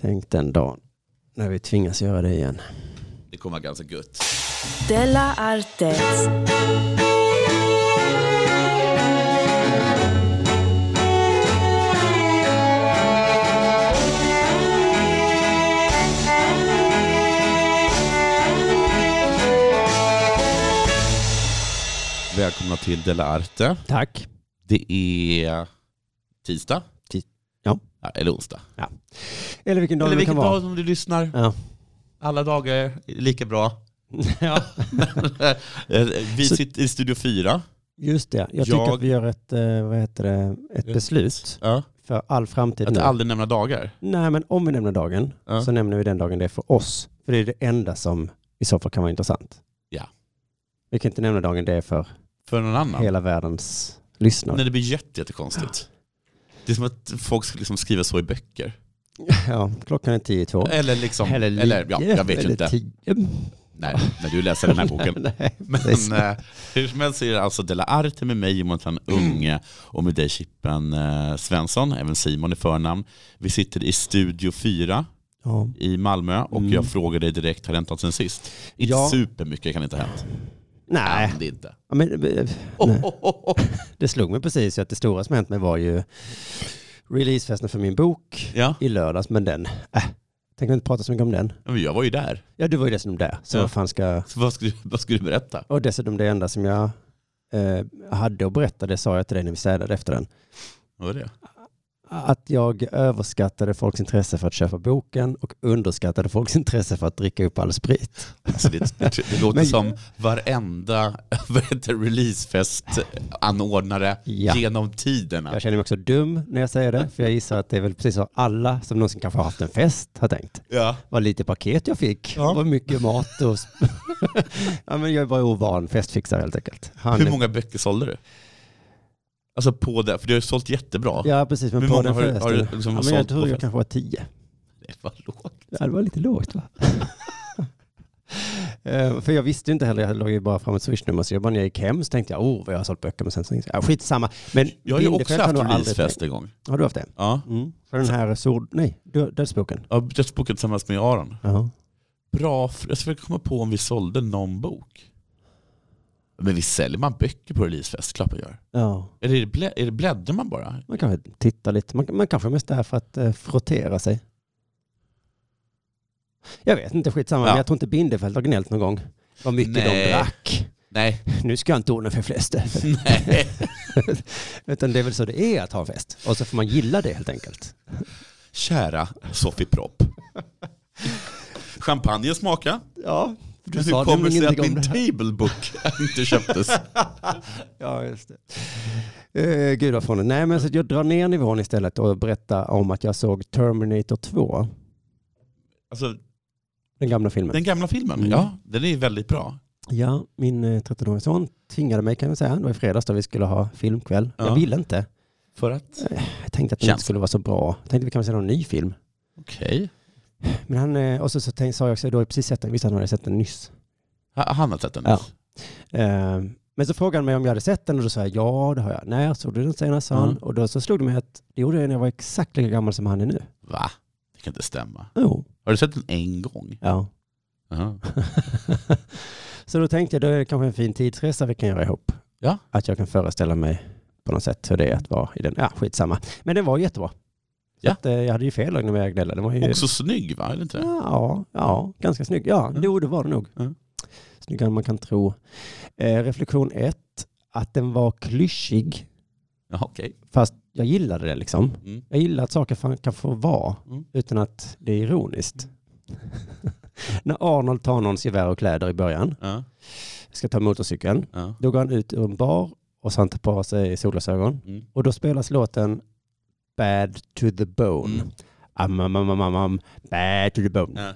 Tänk den dagen när vi tvingas göra det igen. Det kommer vara ganska gött. Della Artes. Välkomna till Della Arte. Tack. Det är tisdag. Tis- ja. Eller onsdag. Eller vilken dag Eller det vilken kan vara. dag som du lyssnar. Ja. Alla dagar är lika bra. ja, Eh, Vi Så- sitter i Studio 4. just det. Jag tycker Jag- att vi gör ett, eh, vad heter det, ett Ett- beslut Ja. för all framtid Att nu. aldrig nämna dagar. Nej, men om vi nämner dagen Ja. så nämner vi den dagen det är för oss. För det är det enda som i så fall kan vara intressant. Ja. Vi kan inte nämna dagen det är för För någon annan. hela världens lyssnare. Nej, det blir jätte- jättekonstigt. Det är som att folk ska liksom skriva så i böcker. Ja, klockan är tio i två. Eller liksom, eller, ja, jag vet eller inte. Tio. Nej, när du läser den här boken. Nej, Men precis. eh, hur som helst så är det alltså Della Arte med mig, Jonathan Mm. Unge och med dig Chippen eh, Svensson, även Simon i förnamn. Vi sitter i Studio 4 Ja. i Malmö och Mm. jag frågar dig direkt, har det hänt något sen sist? Inte Ja. supermycket kan inte ha hänt. Nej, Kan det inte. ja, men, eh, Oh, Nej. oh, oh, oh. det slog mig precis ju att det stora som hänt mig var ju releasefesten för min bok Ja, i lördags, men den, äh, tänker inte prata så mycket om den. men jag var ju där. Ja, du var ju dessutom där, så Ja. vad fan ska... Så vad ska du, vad ska du berätta? Och dessutom det enda som jag eh, hade att berätta, det sa jag till dig när vi städade efter den, Vad är det? att jag överskattade folks intresse för att köpa boken och underskattade folks intresse för att dricka upp all sprit. Alltså det, det, det låter Men- som varenda vad heter det, releasefest-anordnare Ja. genom tiderna. Jag känner mig också dum när jag säger det, för jag gissar att det är väl precis vad alla som någonsin kanske har haft en fest har tänkt. Ja. Vad lite paket jag fick, Ja. vad mycket mat och... ja, men jag är bara ovan festfixare helt enkelt. Han Hur många böcker sålde du? Alltså på det, för du har ju sålt jättebra. Ja, precis. Men Hur på många den har du- festen. har du liksom ja, men sålt jag på tror jag festen? kanske var tio. Det var lågt. Ja, det var lite lågt va? Eh, För jag visste ju inte heller, jag låg ju bara fram ett swishnummer så jag bara när jag gick hem så tänkte jag, oh vad jag har sålt böcker men sen så ja, skitsamma. Men Jag har ju Bindefeld också haft nog aldrig releasefest tänkt- en gång. Har du haft det? Ja. Mm. För den här sord, nej, dö- dödsboken. Jag har dödsboken tillsammans med Aron. Ja. Bra, fr- jag ska försöka komma på om vi sålde någon bok. Men vi säljer man böcker på releasefest? Klart man gör. ja. Eller är det, blä, är det bläddrar man bara? Man kanske tittar lite, man, man kanske är mest där för att eh, frottera sig. Jag vet inte, skitsamma, Ja. men jag tror inte Bindefeld har gnällt någon gång. Vad mycket Nej. de drack. Nej. Nu ska jag inte ordna för flesta. Nej. Utan det är väl så det är att ha en fest. Och så får man gilla det helt enkelt. Kära Sofie Propp. Champagne smaka. Ja, du Hur sa kommer det nämligen sig att ingenting om min det här. tablebook inte köptes? Ja, just det. Eh, gud vad fånigt. Nej, men så att jag drar ner nivån istället och berättar om att jag såg Terminator 2, Alltså, den gamla filmen. den gamla filmen, Mm. ja, den är väldigt bra. Ja, min eh, 13-årige son tvingade mig kan jag säga. Det var i fredags då vi skulle ha filmkväll. Ja. Jag ville inte. För att? Jag tänkte att den Känns. inte skulle vara så bra. Jag tänkte vi kan väl se någon ny film. Okej. Men han, eh, och så, så tänkte, sa jag också, då har jag precis sett den. Visst han hade sett den nyss. Ha- Han har sett den? Ja. Eh, men så frågade han mig om jag hade sett den och då sa jag ja, det har jag. När såg du den senast? sa han. Mm. Och då så slog det mig att det gjorde jag när jag var exakt lika gammal som han är nu. Va? Det kan inte stämma. Jo. Har du sett den en gång? Ja. Ja. så då tänkte jag, då är det kanske en fin tidsresa vi kan göra ihop. Ja. Att jag kan föreställa mig på något sätt hur det är att vara i den. Ja, skitsamma. Men den var jättebra. Så Ja. att, eh, jag hade ju fel när jag gnällde. Den var ju... Också snygg va? Eller inte? Ja, ja, ganska snygg. Ja, Mm. jo, det var det nog. Mm. Snyggare än man kan tro. Eh, reflektion ett, att den var klyschig. Ja, okej. Fast jag gillade det liksom. Mm. Jag gillar att saker fan kan få vara Mm. utan att det är ironiskt. När Arnold tar någons gevär och kläder i början, Ja, ska ta motorcykeln, ja. då går han ut ur en bar och så han tar på sig solglasögon. Mm. Och då spelas låten Bad to the bone. Mm. Am, am, am, am, am, am, bad to the bone. Ja.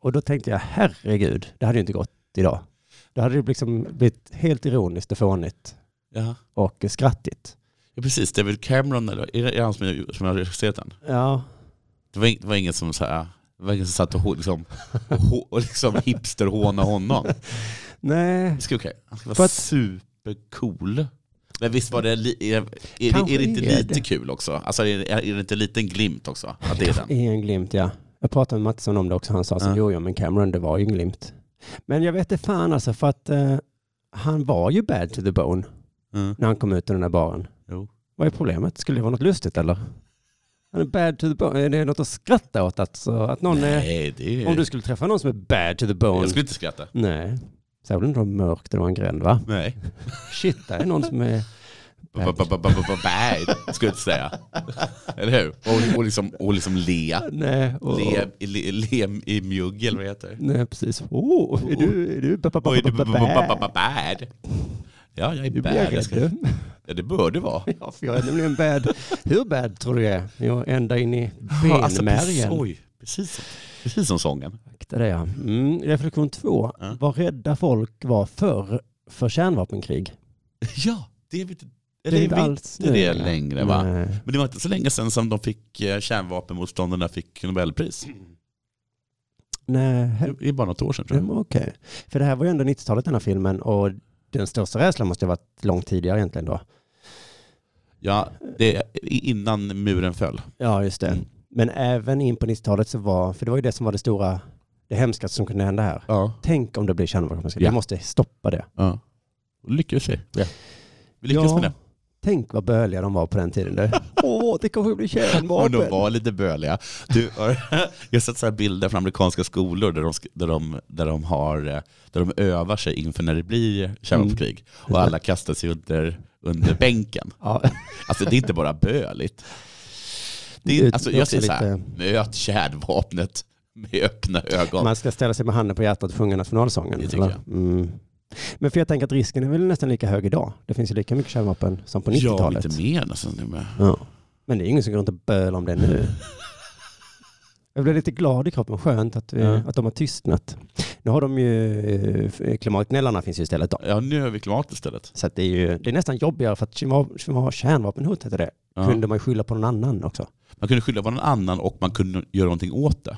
Och då tänkte jag, herregud, det hade ju inte gått idag. Då hade det liksom blivit helt ironiskt och fånigt Ja. och skrattigt. ja, precis. David Cameron, eller är det är det han som, som har regisserat den? Ja, Det var, ing- det var ingen som så här, det var ingen som satt och hå- liksom, och hå- och liksom hipsterhånade honom. nej. Det ska okej. Han ska För vara att- supercool. Men visst var det, li- är, är, det- är Kanske det inte är lite det. kul också? Alltså är, det- är det inte en liten glimt också? Att det är den? I en glimt, ja. Jag pratade med Mattisson om det också. Han sa så, Ja. jo, jo, men Cameron, det var ju en glimt. Men jag vet inte fan alltså, för att eh, han var ju bad to the bone Mm. när han kom ut ur den där baren. Jo. Vad är problemet? Skulle det vara något lustigt eller? Han är bad to the bone. Är det något att skratta åt? Alltså, att någon är, Nej, det är... om du skulle träffa någon som är bad to the bone? Jag skulle inte skratta. Nej. Särskilt inte om det var mörkt och det var en gränd va? Nej. Shit, där är någon som är... Bad. Bad, skulle jag inte säga. Eller hur? Och, och, liksom, och liksom le. Nej, och, Le, le, le i mjugg, eller vad det heter nej precis. Åh, är du... Är du... Oj, du b- b- b- Bad? b- bad. Ja, jag är Du blir jag bad. Jag rädd. ska, du. ja, det bör du vara. Ja, för jag är nämligen bad. Hur bad tror du jag är? Jo, ända in i Ja, alltså, precis, benmärgen. oj, precis, som- precis som sången. Akta dig, ja. Mm, reflektion två. Ja. Vad rädda folk var förr för kärnvapenkrig. Ja, det är vi inte, Det eller är är inte vi alls inte nu, det eller? längre va? Nej. Men det var inte så länge sedan som de fick eh, kärnvapenmotståndarna fick Nobelpris. Mm. Nej, he- Det är bara något år sedan tror mm, jag. okej. För det här var ju ändå 90-talet den här filmen och den största rädslan måste ju ha varit långt tidigare egentligen då. Ja, det är innan muren föll. Ja, just det. Mm. Men även in på 90-talet så var, för det var ju det som var det stora, det hemskaste som kunde hända här. Ja. Tänk om det blir kärnvapenkrig. Ja. Vi måste stoppa det. ja. Och lyckades vi. Vi lyckades Ja, med det. Tänk vad böliga de var på den tiden. du. Åh, det kommer att bli Och de kärnvapen. var lite böliga. Du, har- jag har sett så här bilder från amerikanska skolor där de, sk- där de, där de, har, eh, där de övar sig inför när det blir kärnvapenkrig. Mm. Och alla kastar sig under, under bänken. Ja, Alltså det är inte bara böligt. Det är, Ut- alltså, det är jag också säger så här, lite- möt kärnvapnet med öppna ögon. man ska ställa sig med handen på hjärtat och sjunga nationalsången. Det tycker eller? Mm. Men för jag tänker att risken är väl nästan lika hög idag. Det finns ju lika mycket kärnvapen som på 90-talet. Ja, lite mer nästan. nu med. Ja. Men det är ingen som går runt och bölar om det nu. Jag blev lite glad i kroppen, skönt att, vi, Ja. att de har tystnat. Nu har de ju, eh, klimatgnällarna finns ju istället då. Ja, nu är vi klimat istället. Så att det är ju, det är nästan jobbigare för att kima- kima- kärnvapenhot heter det. Ja. Kunde man ju skylla på någon annan också. Man kunde skylla på någon annan och man kunde göra någonting åt det.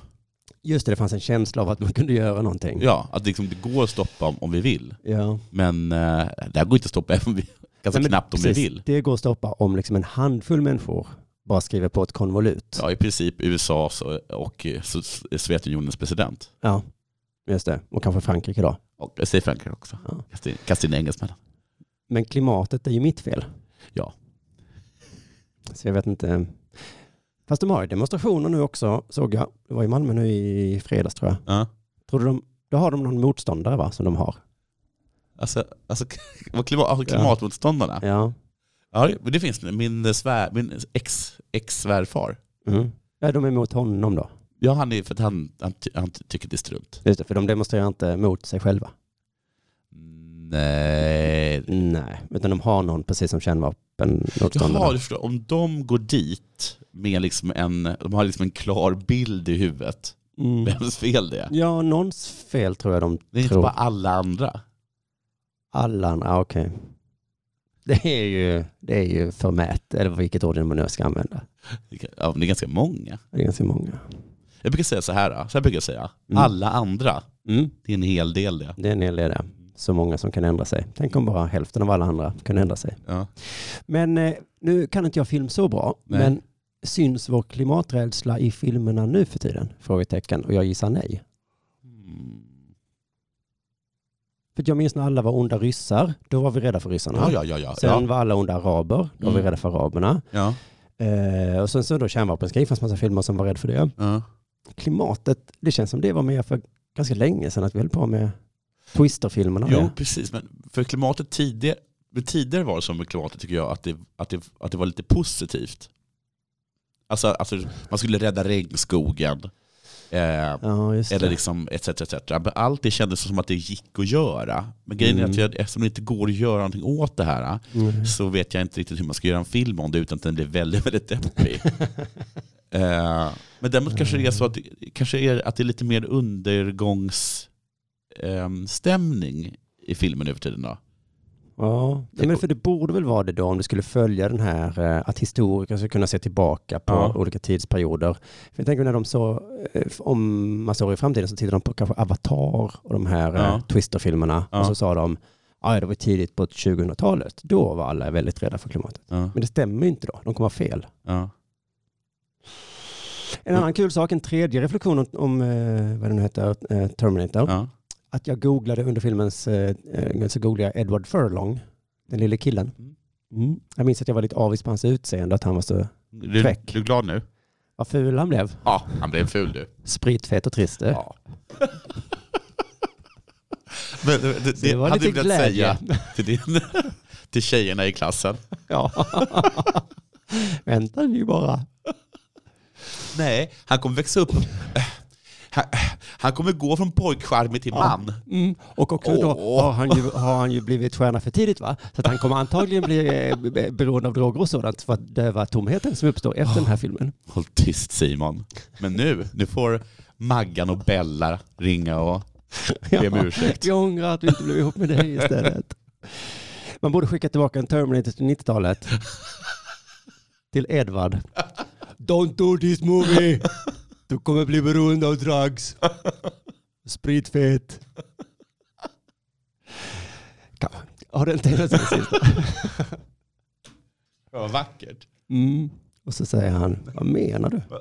Just det, det fanns en känsla av att man kunde göra någonting. Ja, att liksom, det går att stoppa om, om vi vill. Ja. Men eh, det här går inte att stoppa även om vi, ganska Nej, men knappt om precis. vi vill. Det går att stoppa om liksom en handfull människor bara skriver på ett konvolut. Ja, i princip USAs och, och eh, so- so- Sovjetunionens president. Ja, just det. Och kanske Frankrike då. Och jag säger Frankrike också. Ja. Kasta in, kasta in engelsmännen. Men klimatet är ju mitt fel. Ja. Så jag vet inte. Fast de har ju demonstrationer nu också, såg jag. Det var i Malmö nu i fredags tror jag. Ja. Tror du de, då har de någon motståndare va, som de har? Alltså, alltså, vad klimat, alltså Ja. klimatmotståndarna. Ja. Ja, men det finns det. Min, eh, svär, min ex, ex-svärfar. Mm. Ja, de är mot honom då. Ja, han är för att han, han, ty- han tycker det är strunt. Just det, för de demonstrerar inte mot sig själva. Nej. Nej, utan de har någon precis som Jaha, kärnvapenmotståndare. du förstår. Om de går dit med liksom en, de har liksom en klar bild i huvudet, Mm. vems fel det är? Ja, någons fel tror jag de Det är inte tror. bara alla andra. Alla andra, ah, okej. Det är ju, det är ju förmät, eller vilket ord man nu ska använda. Det kan- ja, men Det är ganska många. Det är ganska många. Jag brukar säga så här, då. så här brukar jag säga. Mm. Alla andra, Mm. det är en hel del det. Det är en hel del där. Så många som kan ändra sig. Tänk om bara hälften av alla andra kan ändra sig. Ja. Men eh, nu kan inte jag film så bra, Nej. men syns vår klimaträdsla i filmerna nu för tiden? Frågetecken. Och jag gissar nej. Mm. För att jag minns när alla var onda ryssar, då var vi rädda för ryssarna. Ja, ja, ja. ja. Sen ja. var alla onda araber, då var vi Mm. rädda för araberna. ja. Eh, och sen så då kärnvapenkrig, fanns massa filmer som var rädda för det. ja. klimatet, det känns som det var med för ganska länge sedan att vi höll på med twisterfilmerna. Jo, Ja. precis. Men för klimatet tidigare, men tidigare var det som med klimatet tycker jag, att det, att det, att det var lite positivt. Alltså, alltså man skulle rädda regnskogen. Eh, Ja, just eller det. liksom etc, etc. Men allt det kändes som att det gick att göra. Men grejen Mm. är att jag, eftersom det inte går att göra någonting åt det här Mm. så vet jag inte riktigt hur man ska göra en film om det utan att den blir väldigt, väldigt deppig. eh, men däremot kanske det är så att, det- kanske är, att det är lite mer undergångsstämning stämning i filmen nu för tiden. Då. Ja, Nej, men för det borde väl vara det då om du skulle följa den här eh, att historiker ska kunna se tillbaka på Ja. olika tidsperioder. För jag tänker när de så, eh, om massa år i framtiden så tittar de på kanske Avatar och de här eh, Ja. twisterfilmerna Ja. och så sa de "Ah, ja, det var tidigt på 2000-talet. Då var alla väldigt rädda för klimatet. Ja, Men det stämmer ju inte då. De kommer ha fel. ja. En annan kul sak, en tredje reflektion om, om eh, vad den heter, eh, Terminator. Ja. Att jag googlade under filmens, eh, eh, så googlade jag Edward Furlong, den lille killen. Mm. Mm. Jag minns att jag var lite avis på hans utseende, att han var så, Du, Fräck. du är glad nu? vad ful han blev. Ja, han blev ful du. Spritfet och trist. eh. Ja. Men, eh, det, det, Så det var hade lite du velat glädje. säga till, din, till tjejerna i klassen? Ja. Vänta nu bara. Nej, han kommer växa upp. Han, han kommer gå från pojkcharmig till man. Mm. Och också då Åh. har han, ju, har han ju blivit stjärna för tidigt va? Så att han kommer antagligen bli eh, be- beroende av droger och sådant för att döva tomheten som uppstår efter den här filmen. Håll tyst Simon. Men nu, nu får Maggan och Bella ringa och be om ursäkt. Jag ångrar att vi inte blev ihop med dig istället. Man borde skicka tillbaka en Terminator till 90-talet. Till Edvard. Don't do this movie! Du kommer bli beroende av drugs. Spritfett. Kan- Har du inte hela sin sista? Vad vackert. Mm. Och så säger han, vad menar du? Va?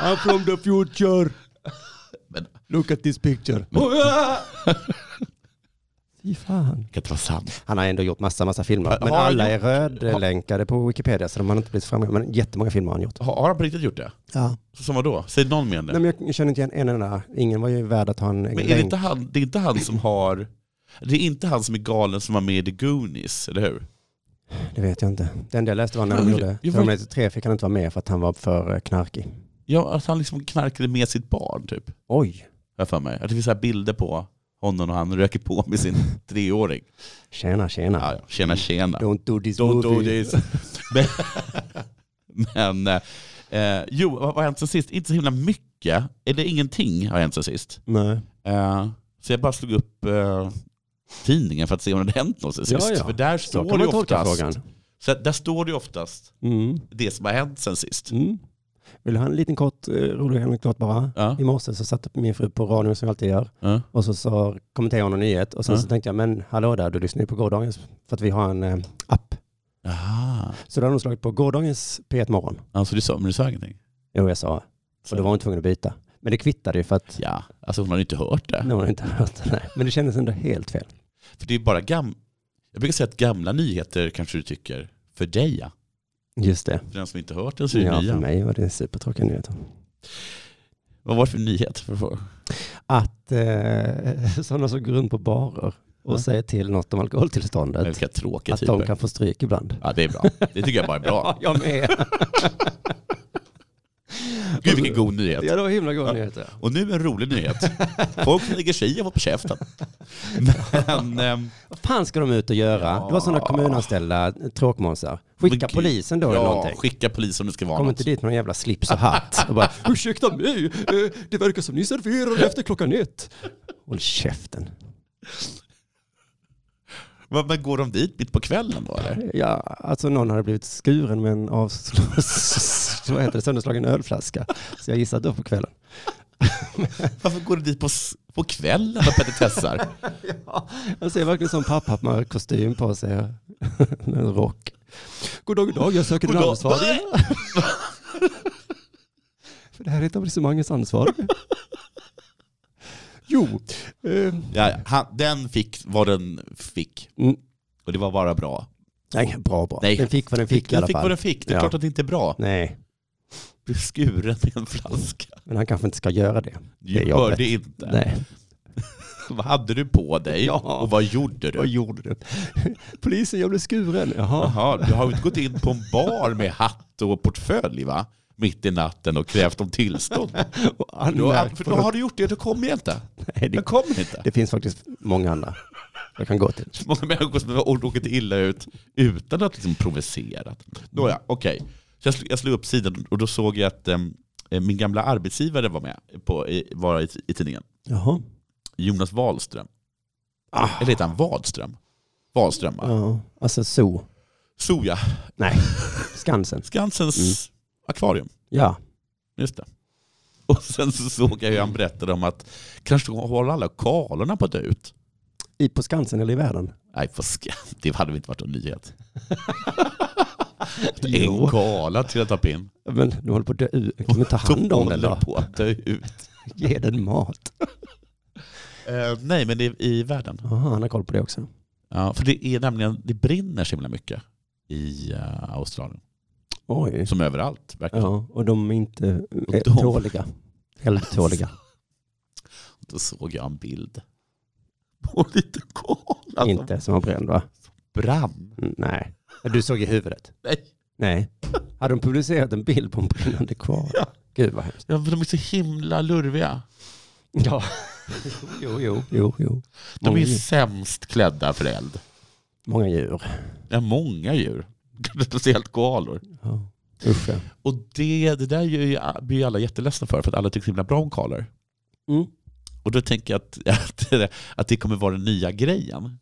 I'm from the future. Men- Look at this picture. Fy fan. Det kan inte vara sant. Han har ändå gjort massa, massa filmer. Har Men han alla är gjort- rödlänkade på Wikipedia så de har inte blivit framgång. Men jättemånga filmer har han gjort. Har, har han på riktigt gjort det? Ja. Som vad då? Säg någon mening. Nej, men jag känner inte igen en enda. Ingen var ju värd att ha en Men egen är det, länk. inte han, det är inte han som har... Det är inte han som är galen som var med i The Goonies, eller hur? Det vet jag inte. Det enda jag läste var när han Men- gjorde jag- Terminator 3 fick han inte vara med för att han var för eh, knarkig. Ja, att han liksom knarkade med sitt barn, typ. Oj, Har jag för mig. Att det finns så här bilder på honom och han röker på med sin treåring. tjena tjena. Ja, ja. Tjena, tjena. Don't do this Don't movie. do this. Men, men eh, jo, vad vad har hänt sen sist? Inte så himla mycket, eller ingenting har hänt sen sist. Nej. Eh, så jag bara slog upp eh, tidningen för att se om det hade hänt något sen Ja, sist. ja. För där Så står, kan det man tolka oftast, frågan. så att där står det oftast Mm. det som har hänt sen sist. Mm. Vill du ha en liten kort eh, rolig anekdot bara? Ja. I morse så satte min fru på radion som jag alltid gör. Ja. Och så, så kommenterade hon en nyhet och sen Ja. så tänkte jag, men hallå där, du lyssnar ju på gårdagens, för att vi har en eh, app. Aha. Så då hade hon slagit på gårdagens P1 Morgon. Alltså du sa, men du sa ingenting? Jo, jag sa, Så. och då var hon tvungen att byta. Men det kvittade ju för att Ja, alltså hon har ju inte hört det. nej, hon har inte hört det. Nej. Men det kändes ändå helt fel. För det är bara gam... Jag brukar säga att gamla nyheter kanske du tycker för dig, ja. Just det. För den som inte hört den så är det Ja, nya. för mig var det en supertråkig nyhet. Vad var det för nyhet? För att få- Att eh, sådana som går runt på barer och Ja. säger till något om alkoholtillståndet, Vilka tråkiga att de typer. kan få stryk ibland. Ja, det är bra. Det tycker jag bara är bra. jag med. Gud vilken god nyhet. Ja, det var himla goda nyheter. Och nu en rolig nyhet. Folk som lägger sig i har fått på käften. Men, ehm, Vad fan ska de ut och göra? Ja. Det var sådana kommunanställda tråkmånsar. Skicka men gud. polisen då ja, eller någonting. Skicka polisen om det ska vara Kom något. inte dit med någon jävla slips och hatt. Och bara, alltså. Ursäkta mig, eh, det verkar som ni serverar efter klockan ett. Håll käften. Men, men går de dit mitt på kvällen då eller? Ja, alltså någon hade blivit skuren med en avslås... Vad heter det? Sönderslagen ölflaska. Så jag gissade då på kvällen. Varför går de dit på, s- på kvällen och petitessar? Han ser verkligen som pappa med kostym på sig. Med en rock. God dag, god dag, jag söker God din dag. ansvarig. För det här är etablissemangets ansvar. Jo. Eh, Ja, ja, han, den fick vad den fick. Mm. Och det var bara bra. nej, bra, bra. Nej. Den fick vad den fick i Den alla fick fall. vad den fick. Det är Ja. klart att det inte är bra. Nej, Bli skuren med en flaska. men han kanske inte ska göra det. Det är Du jobbigt. hörde inte. Nej. Vad hade du på dig? Ja. Och vad gjorde du? gjorde du? Polisen, jag blev skuren. Jaha. Jaha, du har ju inte gått in på en bar med hatt och portfölj va? Mitt i natten och krävt om tillstånd. Och Då, anmärkt för på då något. har du gjort det, då kommer jag inte. Nej, det, Jag kommer inte. det finns faktiskt många andra jag kan gå till. Så många människor som har råkat illa ut utan att liksom provocerat. Nåja, okej. Så jag slog, jag slog upp sidan och då såg jag att em, min gamla arbetsgivare var med på, i, var i, i tidningen. Jaha. Jonas Wahlström. Ah. Eller heter han Wadström? Wahlström va? Ja, alltså zoo. So ja, Nej, Skansen. Skansens akvarium. Ja. Just det. Och sen så såg jag hur han berättade om att kanske håller alla kalorna på att dö ut. I, på Skansen eller i världen? Nej, för skam. Det hade väl inte varit en nyhet. En gala till att ta pin. Men du håller på att dö ut. Kan vi ta hand om den då? Håller på att dö ut. Ge den mat. Eh, nej, men det är i världen. Aha, han har koll på det också. Ja, för det är nämligen, det brinner så himla mycket i eh, Australien. Oj. Som överallt verkar ja. Ja, och de är inte Och eh, de- tåliga. Eldtåliga. Då såg jag en bild på en liten alltså. gala som Inte som var bränd va? brann. Mm, Nej. Du såg i huvudet? Nej. Nej. Hade de publicerat en bild på en brinnande kvar? Ja. Gud vad hemskt. Ja, men de är så himla lurviga. Ja. jo, jo, jo, jo. De Många, är djur. sämst klädda för eld. många djur. Ja, många djur. Speciellt galor. Ja. Usch ja. Och det, det där gör ju- blir ju alla jätteledsna för, för att alla tycker så himla bra om galor. Mm. Och då tänker jag att, att, det- att det kommer vara den nya grejen.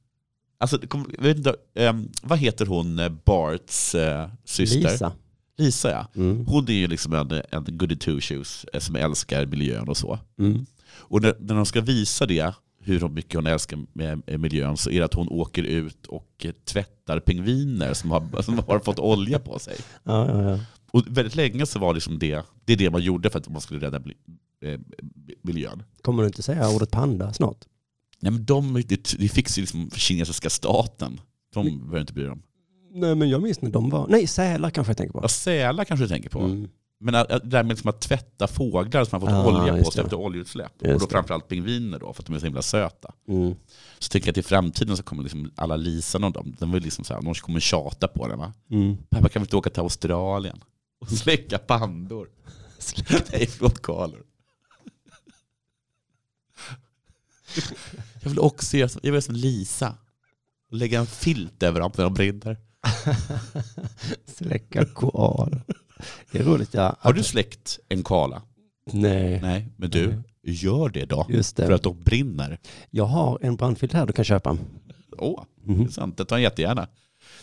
Alltså, det kommer, jag vet inte, ehm, vad heter hon, eh, Barts eh, syster? Lisa. Lisa, ja. Mm. Hon är ju liksom en, en goody two-shoes eh, som älskar miljön och så. Mm. Och när, när de ska visa det, hur mycket hon älskar med- med miljön, så är det att hon åker ut och eh, tvättar pingviner som har, som har fått olja på sig. Ja, ja, ja. Och väldigt länge så var liksom det, det är det man gjorde för att man skulle rädda mil- eh, miljön. Kommer du inte säga ordet panda snart? Nej, men de, det, det fixar ju liksom kinesiska staten. De Mm. behöver inte bry dem. Nej, men jag minns när de var... Nej, sälar kanske jag tänker på. Ja, sälar kanske du tänker på. Mm. Men att- att det där med liksom att tvätta fåglar som har fått Ah, olja på just sig det. efter oljeutsläpp. Just Och då det. framförallt pingviner då, för att de är så himla söta. Mm. Så tänker jag att i framtiden så kommer liksom alla Lisan och dem, de, vill liksom så här, de kommer tjata på den va? Mm. Pappa kan vi inte åka till Australien och släcka pandor? Nej, förlåt galor. Jag vill också göra som, jag vill göra som Lisa. Och lägga en filt över dem när de brinner. Släcka koal. Det är roligt ja. Har du släckt en koala? Nej, Nej, men du, gör det då. just För det. att de brinner. Jag har en brandfilt här du kan köpa. Åh, Mhm. intressant. Det tar jag jättegärna.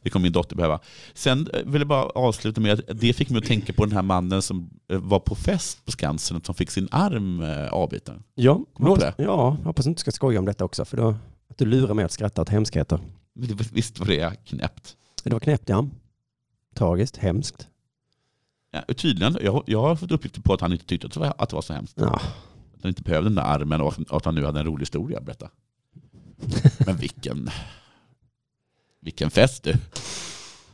Det kommer min dotter behöva. Sen eh, vill jag bara avsluta med att det fick mig att tänka på den här mannen som eh, var på fest på Skansen och som fick sin arm eh, avbiten. Ja, Kommer du ihåg hoppas- Ja, hoppas inte du ska skoja om detta också. För då, att du lurar mig att skratta åt hemskheter. Men det var- Visst var det knäppt? Det var knäppt ja. Tragiskt, hemskt. Ja, och tydligen, jag, jag har fått uppgifter på att han inte tyckte att det var, att det var så hemskt. Ja. Att han inte behövde den där armen och att han nu hade en rolig historia att berätta. Men vilken, vilken fest du.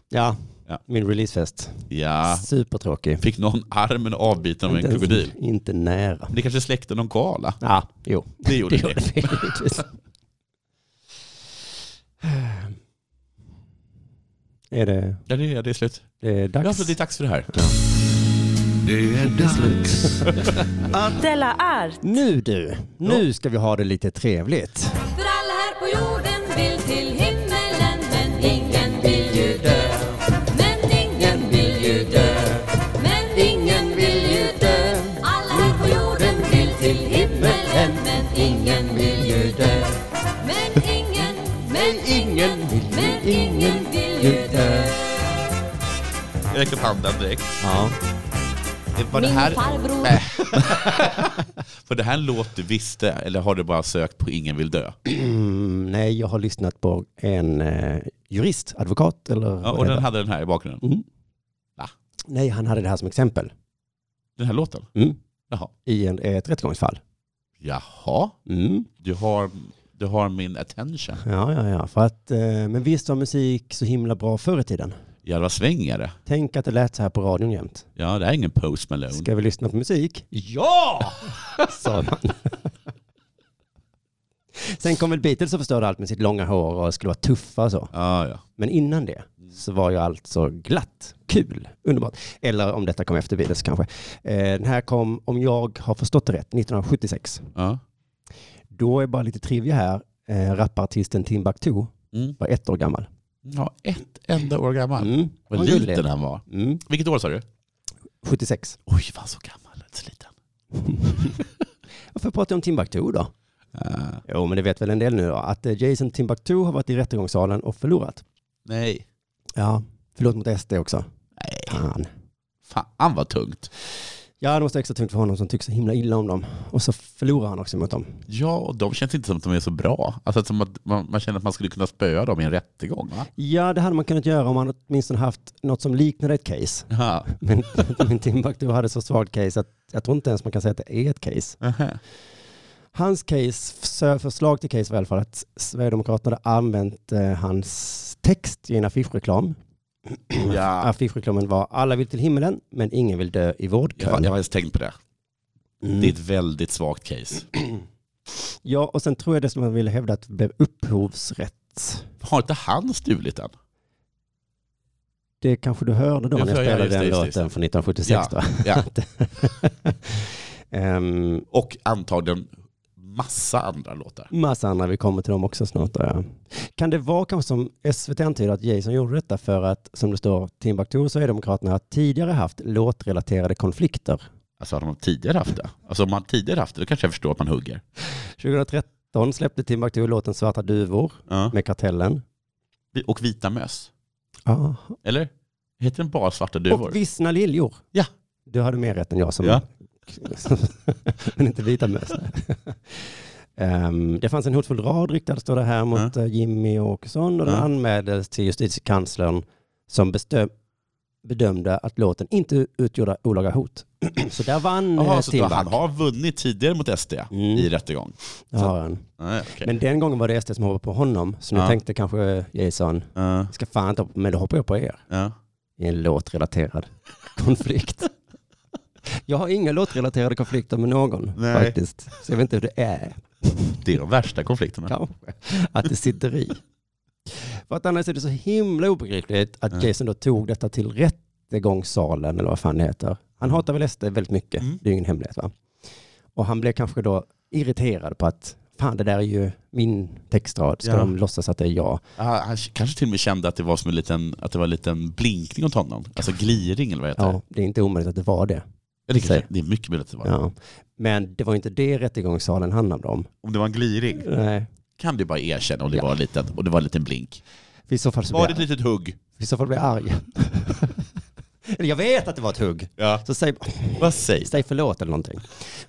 ja. Ja. Min releasefest. Ja, Supertråkig. fick någon armen avbiten av en Inte ens- krokodil. Inte nära. Men Det kanske släckte någon koala. Ja, jo. Det gjorde Det gjorde det. det givetvis. Är det, Ja, det är, det är slut. det är dags? Ja, så det är dags för det här. Det är dags. Della Art. Nu du, nu ska vi ha det lite trevligt. För alla här på jorden vill till himmelen Men ingen vill ju dö Men ingen vill ju dö Men ingen vill ju dö Alla här på jorden vill till himmelen Men ingen vill ju dö Men ingen, men ingen, men ingen vill ju dö Jag räcker upp handen direkt. Ja. Var det, Min här, farbror var det här en låt du visste eller har du bara sökt på Ingen vill dö? Mm, nej, jag har lyssnat på en eh, jurist, advokat eller Ja, och vad det den var. hade den här Mm. i bakgrunden. Nej, han hade det här som exempel Den här låten? Mm. Jaha. i en, ett rättegångsfall. Jaha, Mm. du har, du har min attention. Ja, ja, ja. För att, eh, men visst var musik så himla bra förr i tiden. Ja, det var svängare. Tänk att det lät så här på radion jämt. Ja, det här är ingen Post Malone. Ska vi lyssna på musik? Ja! sa man. Sen kom väl Beatles och förstörde allt med sitt långa hår och skulle vara tuffa och så. Ja, ja. Men innan det Mm. så var jag alltså glatt, kul, underbart. Eller om detta kom efter Beatles kanske. Eh, Den här kom, om jag har förstått det rätt, 1976. ja. Då är bara lite trivia här. Eh, Rapartisten Timbuktu Mm. var ett år gammal. ja ett enda år gammal. Mm. Ah, Vad Han liten gullig. han var. Mm. Vilket år sa du? 76. Oj, vad han så gammal. Så liten. Varför pratar jag om Timbuktu då? Ah, Jo, men det vet väl en del nu då, att eh, Jason Timbuktu har varit i rättegångssalen och förlorat. nej. Ja, förlåt mot SD också. Nej. Fan. Fan vad tungt. Ja, det måste vara extra tungt för honom som tycker så himla illa om dem. Och så förlorar han också mot dem. Ja, och de känns inte som att de är så bra. Alltså som att man, man känner att man skulle kunna spöa dem i en rättegång. Va? Ja, det hade man kunnat göra om man åtminstone haft något som liknade ett case. Ja. Men, men Timbuktu hade så svagt case att jag tror inte ens man kan säga att det är ett case. Aha. Hans case, förs- förslag till case var i alla fall att Sverigedemokraterna hade använt eh, hans text i en affischreklam. Ja. Affischreklamen var alla vill till himmelen men ingen vill dö i Jag, har- vårdkön. jag har ens tänkt på det. Mm. Det är ett väldigt svagt case. Ja, och sen tror jag det som man ville hävda att det blev upphovsrätt. Har inte han stulit den? Det kanske du hörde då Ja, när jag ja, ja, spelade just det, den just det, låten just från det. 1976. Ja, va? ja. Ehm, Och antagligen massa andra låtar. massa andra, vi kommer till dem också snart. tror jag. Kan det vara kanske som SVT antyder att Jason gjorde detta för att, som det står, Timbuktu och Sverigedemokraterna har tidigare haft låtrelaterade konflikter. Alltså har de tidigare haft det? Alltså om man tidigare haft det, då kanske jag förstår att man hugger. 2013 släppte Timbuktu låten Svarta duvor Ja. med Kartellen. Och Vita möss. Ja. Eller? Heter den bara Svarta duvor? Och Vissna liljor. Ja. Du hade mer rätt än jag som... Ja. Men inte vita möss. Ehm, det fanns en hotfull rad riktad, står det här, mot eh, Jimmy Åkesson och den Ja. anmäldes till justitiekanslern som bestö- bedömde att låten inte utgjorde olaga hot. så där vann eh, Jaha, Aha, så att Timbuk. han har vunnit tidigare mot SD i rättegång? Det har han. Nej, okej. Men den gången var det SD som hoppade på honom, så nu Ja. tänkte kanske Jason, Ja, ska fan inte hoppa- men då hoppar jag på er. ja. i en låtrelaterad konflikt. Jag har inga låtrelaterade konflikter med någon Nej. faktiskt. Så jag vet inte hur det är Det är de värsta konflikterna. kanske, att det sitter i. För att annars är det så himla obegripligt att Ja. Jason då tog detta till rättegångssalen eller vad fan det heter. Han hatar väl SD väldigt mycket, Mm. det är ju ingen hemlighet va? Och han blev kanske då irriterad på att fan det där är ju min textrad, ska Ja. de låtsas att det är jag? Ah, Han kanske till och med kände att det var som en liten, att det var en liten blinkning åt honom. Alltså gliring eller vad det heter. Ja, det är inte omöjligt att det var det. Eller kanske, säg. det är mycket möjligt att det var. Ja. Men det var ju inte det rättegångssalen handlade om. Om det var en gliring Nej. kan du bara erkänna om det Ja. var en liten, och det var en liten blink. I så fall så Var blir det ett jag, litet hugg? i så fall blir jag arg. Eller jag vet att det var ett hugg. Ja. Så säg, Vad sägs? säg förlåt eller någonting.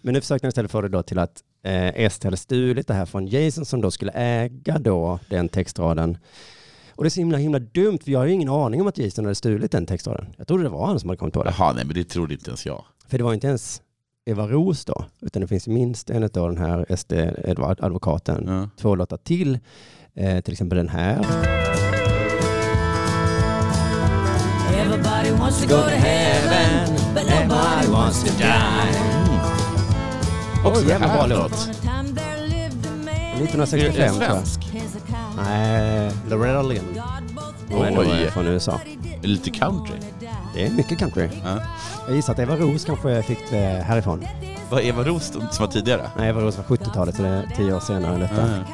Men nu försökte han istället få det då till att eh, Est hade stulit det här från Jason som då skulle äga då den textraden. Och det är så himla himla dumt för jag har ju ingen aning om att Jason hade stulit den textraden. Jag trodde det var han som hade kommit på det. Jaha, nej men det trodde inte ens jag. För det var ju inte ens Eva Roos då, utan det finns ju minst en av den här SD, Edvard, advokaten, Ja. två låtar till. Eh, till exempel den här. Everybody wants to go to heaven, but nobody wants to die. Också jävla bra här låt. låt. Upon a time there lived a man. 1965 Är det tror jag. svensk? His account. Nej, Loretta Lynn. God both Hon är nog, Oj. eh, från USA. Lite country. Det är mycket country. Ja. Jag gissar att Eva Roos kanske fick det härifrån. Var Eva Roos som var tidigare? Nej, Eva Roos var 70-talet, så det är tio år senare än detta. Ja.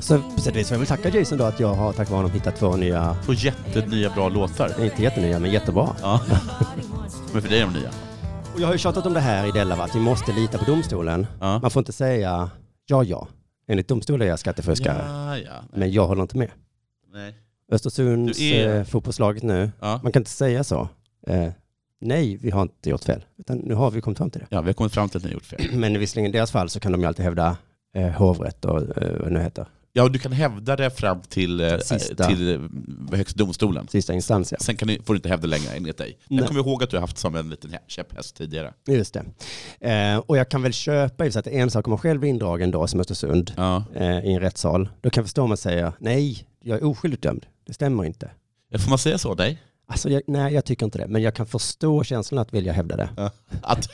Så på sätt och vis får jag väl tacka Jason då att jag har tack vare honom hittat två nya, Två jättenya bra låtar. inte jättenya, men jättebra. Ja. Men för dig är de nya. Och jag har ju tjatat om det här i Della, va, att vi måste lita på domstolen. Ja. Man får inte säga ja, ja. Enligt domstolen är jag skattefuskare. Ja, ja. Nej. Men jag håller inte med. Nej. Östersunds Du är- eh, fotbollslaget nu, Ja. man kan inte säga så. Eh, nej, vi har inte gjort fel. Utan nu har vi kommit fram till det. ja, vi har kommit fram till att ni har gjort fel. Men visserligen i deras fall så kan de ju alltid hävda eh, hovrätt och eh, vad det nu heter, Ja, och du kan hävda det fram till, eh, Sista. till eh, Högsta domstolen. sista instans. Ja. Sen kan du, får du inte hävda längre enligt dig. Nej. Jag kommer ihåg att du har haft som en liten hä- käpphäst tidigare. Just det. Eh, och jag kan väl köpa i och för sig att det är en sak om man själv blir indragen då som Östersund Ja. eh, i en rättssal. Då kan jag förstå om man säger nej, jag är oskyldigt dömd. Det stämmer inte. Eh, Får man säga så? Nej? Alltså, jag, nej, jag tycker inte det. Men jag kan förstå känslan att vilja hävda det. Att...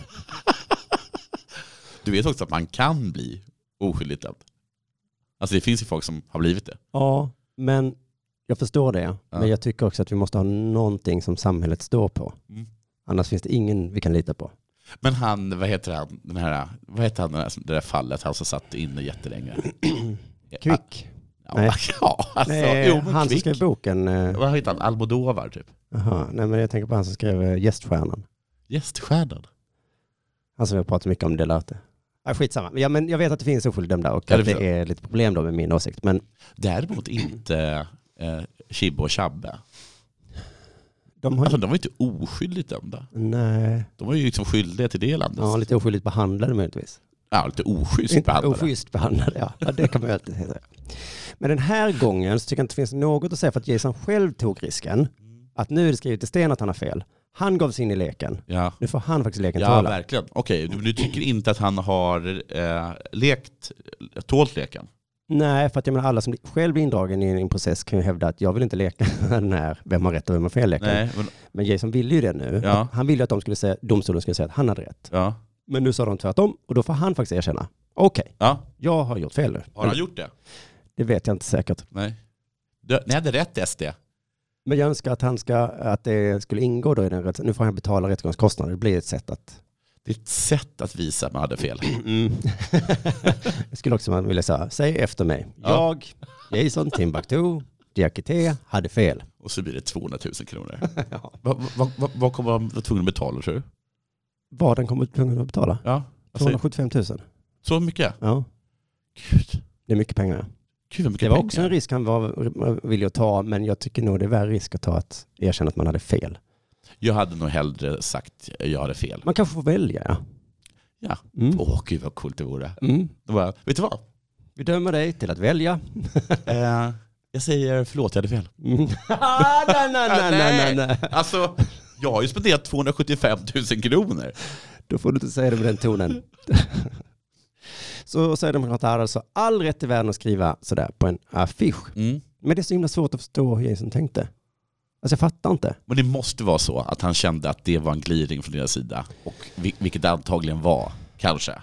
du vet också att man kan bli oskyldigt dömd. Alltså det finns ju folk som har blivit det. Ja, men jag förstår det. Ja. Men jag tycker också att vi måste ha någonting som samhället står på. Mm. Annars finns det ingen vi kan lita på. Men han, vad heter han, den här, vad heter han den här, det där fallet, han som satt inne jättelänge? Ja, Kvick. ja, Nej. ja alltså, Nej, jo men han som kvick. skrev boken. eh, Vad heter han, Almodovar typ? Aha, nej men jag tänker på han som skrev eh, Gäststjärnan. Gäststjärnan? Han som vi har pratat mycket om, Delarte. Ja, skitsamma. Ja, men jag vet att det finns oskyldig dömda och Ja, det att det förstår är lite problem då med min åsikt. Men Däremot inte eh, Chibbe och Chabbe. De har ju... Alltså de var ju inte oskyldigt dömda. Nej, De var ju liksom skyldiga till det landet. ja, lite oskyldigt behandlade möjligtvis. Ja, lite oschysst Inte behandlade. Oschysst behandlade, ja. ja. Det kan man ju alltid säga. Men den här gången så tycker jag inte det finns något att säga för att Jason själv tog risken. Mm. Att nu är det skrivet i sten att han har fel. Han gav sig in i leken. Ja, Nu får han faktiskt leken ja tala. verkligen. Okej, du, du tycker inte att han har eh, lekt, tålt leken? Nej, för att jag menar alla som själv blir indragen i en process kan ju hävda att jag vill inte leka den här vem har rätt och vem har fel leken. Nej, men, Men Jason ville ju det nu. Ja. Han ville ju att de skulle säga, domstolen skulle säga att han hade rätt. ja. Men nu sa de tvärtom och då får han faktiskt erkänna. Okej, ja. jag har gjort fel nu. Har han gjort det? Det vet jag inte säkert. Nej. Du, ni hade rätt SD. Men jag önskar att, han ska, att det skulle ingå då i den rätt... Nu får han betala rättegångskostnader. Det blir ett sätt att... Det är ett sätt att visa att man hade fel. jag skulle också vilja säga, säg efter mig. Ja. Jag, Jason Timbuktu, Diakité, hade fel. Och så blir det 200 000 kronor. Vad va, va, vad kommer man vara tvungen att betala tror du? Vad den kommer tvungen att betala? Ja. Alltså, 275 000. så mycket? Ja, Gud, det är mycket pengar. Gud vad mycket Det var pengar. också en risk han var villig att ta, men jag tycker nog det är värre risk att ta att erkänna att man hade fel. Jag hade nog hellre sagt eh, jag hade fel. Man kanske får välja, ja. Ja. Mm. Åh gud vad coolt det vore. Mm. Då bara, vet du vad? Vi dömer dig till att välja. Eh, jag säger förlåt, jag hade fel. Mm. Ah, nej, nej, nej, nej, nej, nej. Alltså, jag har ju spenderat 275 000 kronor. Då får du inte säga det med den tonen. så Sverigedemokraterna har alltså all rätt i världen att skriva sådär på en affisch. Mm. Men det är så himla svårt att förstå hur Jason tänkte. Alltså jag fattar inte. Men det måste vara så att han kände att det var en gliring från deras sida. Och vi- vilket det antagligen var, kanske.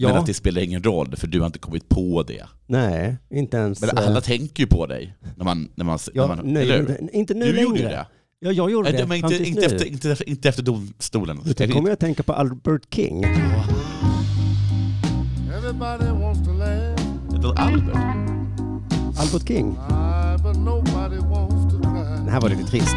Ja, Men att det spelar ingen roll, för du har inte kommit på det. nej, inte ens... Men eh, alla tänker ju på dig. När man, när man, ja, när man, nu, eller hur? inte, inte nu Du längre. gjorde ju det. Ja, jag gjorde Nej, det. men fram inte, tills inte, nu. efter, inte, efter, inte efter domstolen. Då kommer jag att tänka på Albert King. Everybody wants to laugh, Efter Albert. Albert King. ah, but nobody wants to cry. Den här var lite trist.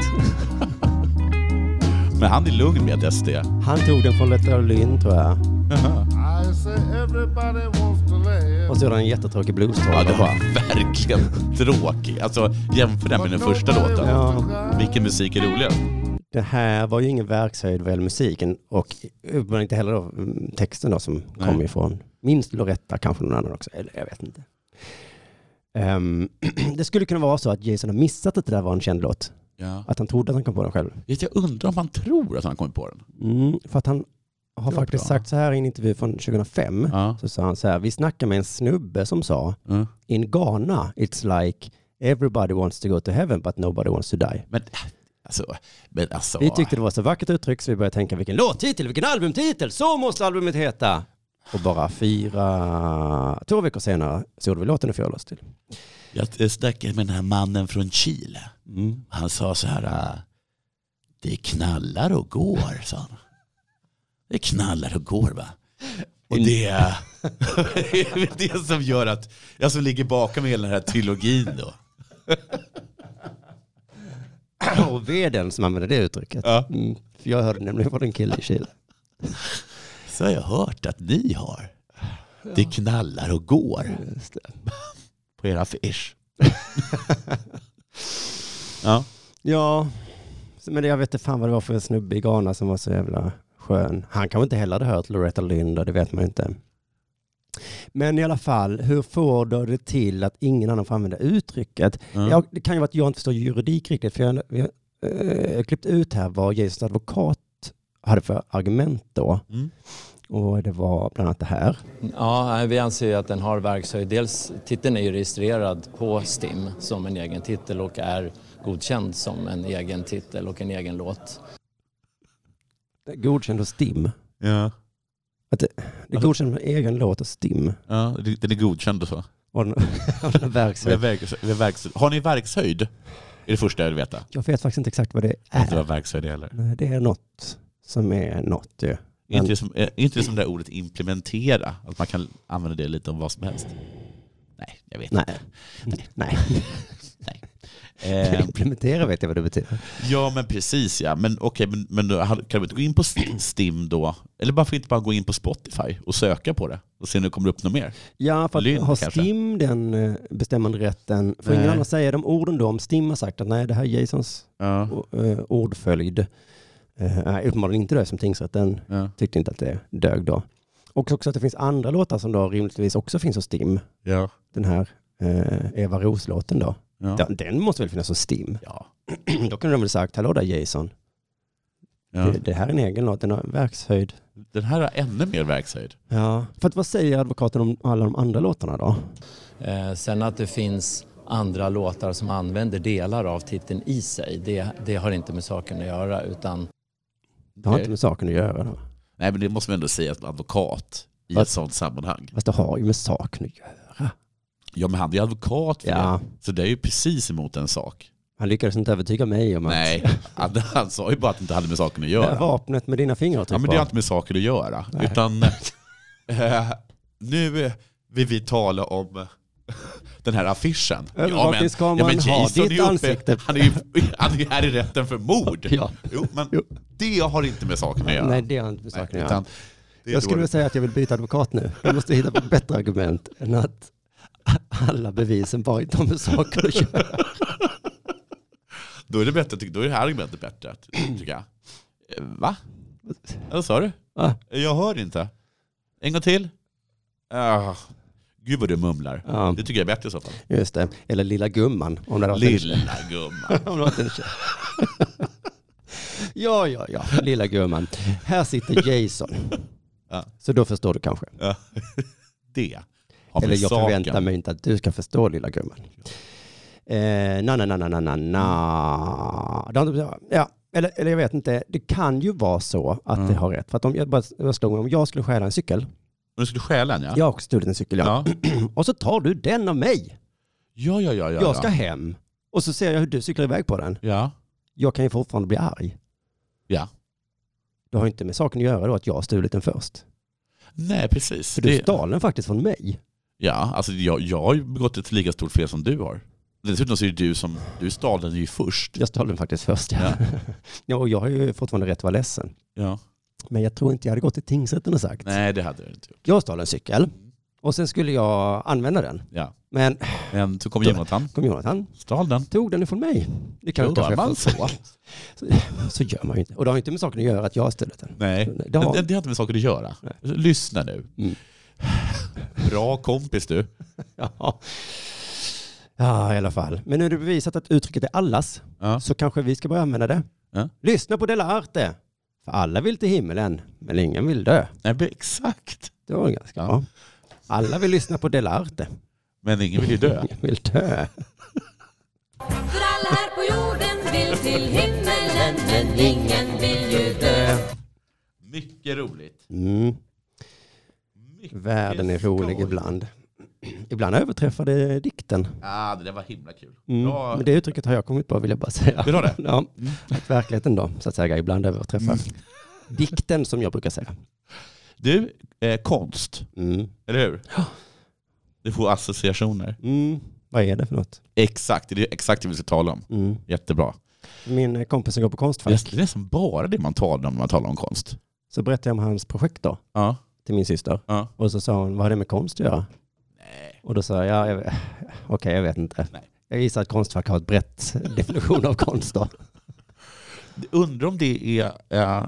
Men han är lugn med SD. Han tog den från Letta Lynn tror jag. I say everybody wants to laugh. Och så gjorde han en jättetråkig Ja, blues-tolka bara. det var verkligen tråkig. Alltså, jämför den med den första låten. Ja. Vilken musik är roligast? Det här var ju ingen verkshöjd vad gäller musiken och uppenbarligen inte heller då, mm, texten då som kom ifrån minst Loretta, kanske någon annan också. Eller jag vet inte. Ehm, det skulle kunna vara så att Jason har missat att det där var en känd låt. Ja. Att han trodde att han kom på den själv. Vet, Jag undrar om han tror att han kommit på den. Mm, för att han har Det var faktiskt bra. sagt så här i en intervju från 2005. Ja. Så sa han så här, vi snackade med en snubbe som sa Ja. in Ghana it's like everybody wants to go to heaven but nobody wants to die. Men alltså... Men alltså Vi tyckte det var så vackert uttryck så vi började tänka vilken låttitel, vilken albumtitel, så måste albumet heta. Och bara fyra, två veckor senare så gjorde vi låten i förhållande till. Jag snackade med den här mannen från Chile. Han sa så här... äh, Det knallar och går, sa han. Det knallar och går, va? Och det är det är väl det som gör att jag som ligger bakom hela den här trilogin då. Och veden som använde det uttrycket. Ja. Mm, för jag hörde nämligen från en kille i Chile. Så har jag hört att ni har. Det knallar och går Just det. på era affisch. ja. Ja, men jag vet inte fan vad det var för en snubbe i Ghana som var så jävla skön. Han kanske inte heller hade hört Loretta Lynn då, det vet man ju inte. Men i alla fall, hur får du det till att ingen annan får använda uttrycket? Ja, det kan ju vara att jag inte förstår juridik riktigt, för jag jag eh, har klippt ut här vad Jasons advokat hade för argument då. Mm. Och det var bland annat det här. Ja, nej, vi anser ju att den har verkshöjd. Dels titeln är ju registrerad på STIM som en egen titel och är godkänd som en egen titel och en egen låt. Godkänd hos STIM. Ja. Det är godkänd med egen låt och STIM. ja, den är godkänd och så. Och den, och den verkshöjd. Vi har verks- vi har verks- Har ni verkshöjd? Det är det första jag vill veta. Jag vet faktiskt inte exakt vad det Äh. Inte är. vad verkshöjd är heller. Nej, Det är något som är något ju. Är inte det som, är inte det som det där ordet implementera? Att man kan använda det lite om vad som helst? Nej, jag vet Nej. Nej. inte. Nej. Eh, Implementera vet jag vad det betyder. ja men precis ja. Men okej, men, men då hade- kan vi inte gå in på Sti- Stim då? Eller varför inte bara gå in på Spotify och söka på det? Och se om det kommer upp något mer? Ja, för att Lynn, har kanske? STIM den eh, bestämmande rätten? För ingen Nej. annan säger de orden då? Om STIM har sagt att nej, det här är Jasons Ja. eh, ordföljd. Eh, Nej, uppenbarligen inte det som tingsrätten Ja. tyckte inte att det dög då. Och också att det finns andra låtar som då rimligtvis också finns hos STIM. Ja. Den här eh, Eva Ros-låten då. Ja. Den, den måste väl finnas hos STIM? Ja. Då kunde de väl sagt, hallå där Jason, Ja. det, det här är en egen låt, den har verkshöjd. Den här har ännu mer verkshöjd. Ja. För att vad säger advokaten om alla de andra låtarna då? Eh, sen att det finns andra låtar som använder delar av titeln i sig, det, det har inte med saken att göra utan Det har Okej. inte med saken att göra då. Nej men det måste man ändå säga som advokat i Vad? ett sånt sammanhang. Fast det har ju med saken att göra. Ja men han är ju advokat för det. Ja. Så det är ju precis emot en sak. Han lyckades inte övertyga mig om att Nej, han, han sa ju bara att det inte hade med saken att det här göra. vapnet med dina fingrar typ Ja, men det har inte med saker att göra. Utan eh, nu vill vi tala om den här affischen. Övervakningskameran har ditt är ansikte. Han är ju han är ju här i rätten för mord. Ja. Jo, men det har inte med saken att göra. Nej, det har inte med Nej, saken att utan göra. det är Jag skulle då- vilja säga att jag vill byta advokat nu. Jag måste hitta på ett bättre argument än att alla bevisen bara inte har med saken att göra. Då är det bättre, då är det här argumentet bättre, tycker jag. Eh, Va? Vad sa du? Va? Jag hör inte. En gång till. Ah, gud vad du mumlar. Ja. Det tycker jag är bättre i så fall. Just det, eller lilla gumman. Om det hade varit en- Lilla gumman. Om det varit en tjej. Ja, ja, ja, lilla gumman. Här sitter Jason. Ja. Så då förstår du kanske. Ja. Det har med Eller jag saken. förväntar mig inte att du ska förstå lilla gumman. Eh, na, na, na, na, na, na, Mm. na. Det har inte- Ja, eller, eller jag vet inte, det kan ju vara så att Mm. det har rätt. För att om jag, bara, jag slog mig, om jag skulle stjäla en cykel, Men du skulle stjäla en ja? jag har också stulit en cykel, ja. Ja, och så tar du den av mig. ja, ja. ja, ja, jag ska ja. hem och så ser jag hur du cyklar iväg på den. ja. Jag kan ju fortfarande bli arg. ja. Det har inte med saken att göra då att jag har stulit den först. Nej, precis. För du Det- stal den faktiskt från mig. Ja, alltså jag, jag har ju begått ett lika stort fel som du har. Dessutom så är det du som, du stal den ju först. Jag stal den faktiskt först, ja. ja. och jag har ju fortfarande rätt att vara ledsen. Ja. Men jag tror inte jag hade gått till tingsrätten och sagt. Nej, det hade du inte gjort. Jag stal en cykel och sen skulle jag använda den. Ja. Men Men så kom Jonathan, kom Jonathan, stal den. tog den ifrån mig. Det kan Då kanske var man jag får- så. Så gör man ju inte. Och det har ju inte med saken att göra att jag har stulit den. Nej, Det det har- har, det, inte med saker att göra. Lyssna nu. Mm. Bra kompis du. Ja. ja, i alla fall. Men nu är det bevisat att uttrycket är allas. Ja. Så kanske vi ska börja använda det. Ja. Lyssna på Della Arte. För alla vill till himmelen, men ingen vill dö. Nej, men exakt. Det var ganska bra. Alla vill lyssna på Della Arte. Men ingen vill ju dö. Ingen vill dö. För alla här på jorden vill till himmelen Men ingen vill ju dö Mycket roligt. Mm. Världen är rolig ibland. Ibland överträffar det dikten. Ah, det där var himla kul. Mm. Bra. Men det uttrycket har jag kommit på vill jag bara säga. Vill du ha det? Mm. Ja. Att verkligheten då, så att säga, ibland överträffar dikten som jag brukar säga. Du, eh, konst. Mm. Eller hur? Du får associationer. Mm. Vad är det för något? Exakt, det är exakt det vi ska tala om. Mm. Jättebra. Min eh, kompis som går på Det Konstfack, är nästan bara det man talar om när man talar om konst. så berättade jag om hans projekt då, Ja. till min syster. ja. Och så sa hon, vad har det med konst att göra? Och då sa jag, ja, jag vet- okej jag vet inte. Nej. Jag gissar att Konstfack har ett brett definition av konst då. Undrar om det är, eh,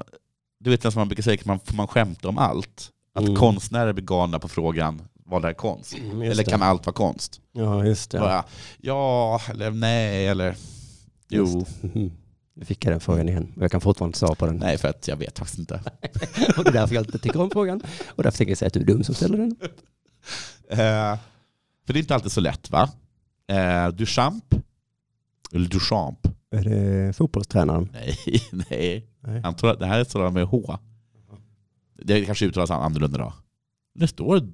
du vet som man brukar säga, man, får man skämta om allt? Att Mm. konstnärer blir galna på frågan, vad är konst? just Eller det. kan allt vara konst? Ja, just det. Bara, ja, eller nej, eller Just jo. Mhm. Nu fick jag den frågan igen och jag kan fortfarande inte svara på den. Nej, för att jag vet faktiskt inte. Och det är därför jag inte tycker om frågan. Och därför tänker jag säga att du är dum som ställer den. Eh, för det är inte alltid så lätt va? Eh, Duchamp? Eller Duchamp? Är det fotbollstränaren? Nej, nej. Nej. Han tror att det här är sådana med H. Det kanske uttalas annorlunda då. Det står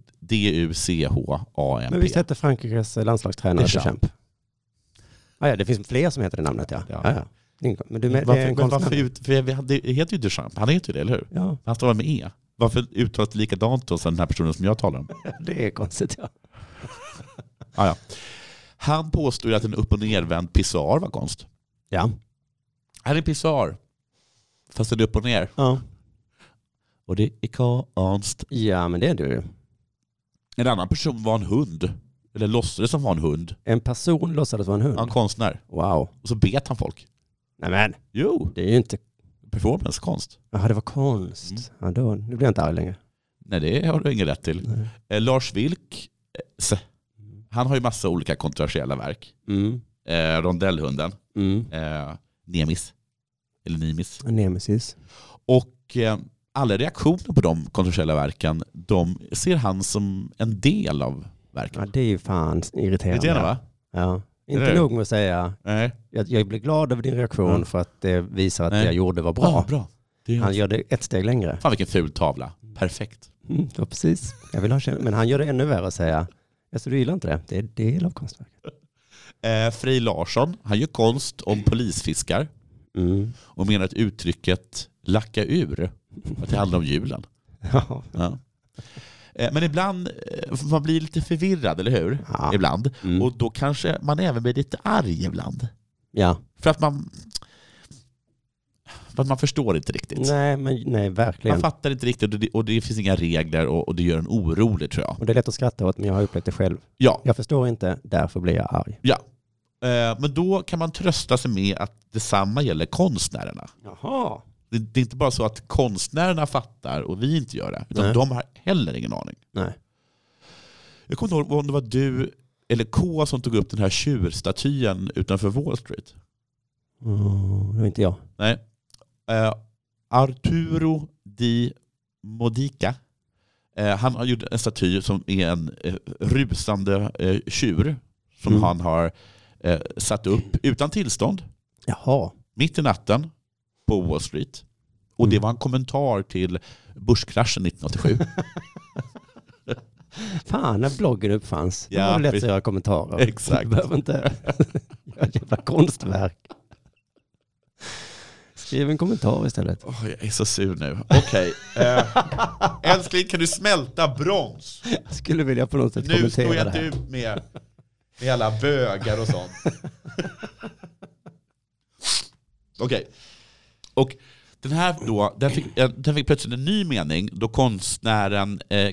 D-U-C-H-A-M-P. Men visst hette Frankrikes eh, landslagstränare Det är Deschamps? Ah, ja, det finns fler som heter det namnet ja. ja. Ja. ja, Ingen- Men du men, det är varför, en men varför konstnär? ut, för vi hade, det heter ju Duchamp, han heter ju det, eller hur? Ja, Han stavar med E. Varför uttalas det likadant då som den här personen som jag talar om? det är konstigt ja. Ah, ja. Han påstår ju att en upp och nervänd pissoar var konst. Ja. Här är en pissoar, fast den är upp och ner. ja. Och det är konst. Ja, men det är du. En annan person var en hund, eller låtsades som var en hund. En person låtsades vara en hund. Han var konstnär. Wow. Och så bet han folk. Nej men, Jo, det är ju inte... performancekonst. Jaha, det var konst. Ja, då, nu blir jag inte arg längre. Nej, det har du ingen rätt till. Nej. Eh, Lars Vilks, eh, han har ju massa olika kontroversiella verk. Mm. Eh, rondellhunden, Mm. eh, Nemis, eller Nimis. Nemesis. Och eh, alla reaktioner på de kontroversiella verken, de ser han som en del av verken. Ja, det är ju fan irriterande. Irriterande va? Ja. Eller Inte hur? nog med att säga, Nej. jag, jag blir glad över din reaktion Mm. för att det visar att Nej. det jag gjorde var bra. Ja, bra. Det är... Han gör det ett steg längre. Fan vilken ful tavla. Perfekt. Mm, ja, precis. Jag vill ha känsla. Men han gör det ännu värre att säga, alltså, du gillar inte det? Det är del av konstverket. Eh, Frej Larsson, han gör konst om polisfiskar Mm. och menar att uttrycket lacka ur, att det handlar om julen. Ja. Ja. Eh, Men ibland, eh, man blir lite förvirrad, eller hur? Ja. Ibland. Mm. Och då kanske man även blir lite arg ibland. ja. För att man, för att man förstår inte riktigt. Nej, men nej, Man verkligen. fattar inte riktigt och det, och det finns inga regler och, och det gör en orolig tror jag. Och det är lätt att skratta åt, men jag har upplevt det själv. Ja, Jag förstår inte, därför blir jag arg. ja. Eh, Men då kan man trösta sig med att detsamma gäller konstnärerna. Jaha. Det, det är inte bara så att konstnärerna fattar och vi inte gör det. Utan Nej. de har heller ingen aning. Nej. Jag kommer inte ihåg om det var du eller K som tog upp den här tjurstatyn utanför Wall Street. Mm, det var inte jag. Nej. Eh, Arturo di Modica. Eh, han har gjort en staty som är en eh, rusande eh, tjur som Mm. han har eh, satt upp utan tillstånd Jaha. mitt i natten på Wall Street. Och det Mm. var en kommentar till börskraschen 1987. Fan, när bloggen uppfanns, då Ja, var det lätt precis. att göra kommentarer. Exakt. Du behöver inte göra ett jävla konstverk. Skriv en kommentar istället. Åh, jag är så sur nu. Okej. Eh, älskling, kan du smälta brons? Jag skulle vilja på något sätt Nu står kommentera jag det inte här. ut med, med alla bögar och sånt. Okej. Och den här då, den fick, eh, den fick plötsligt en ny mening då konstnären eh,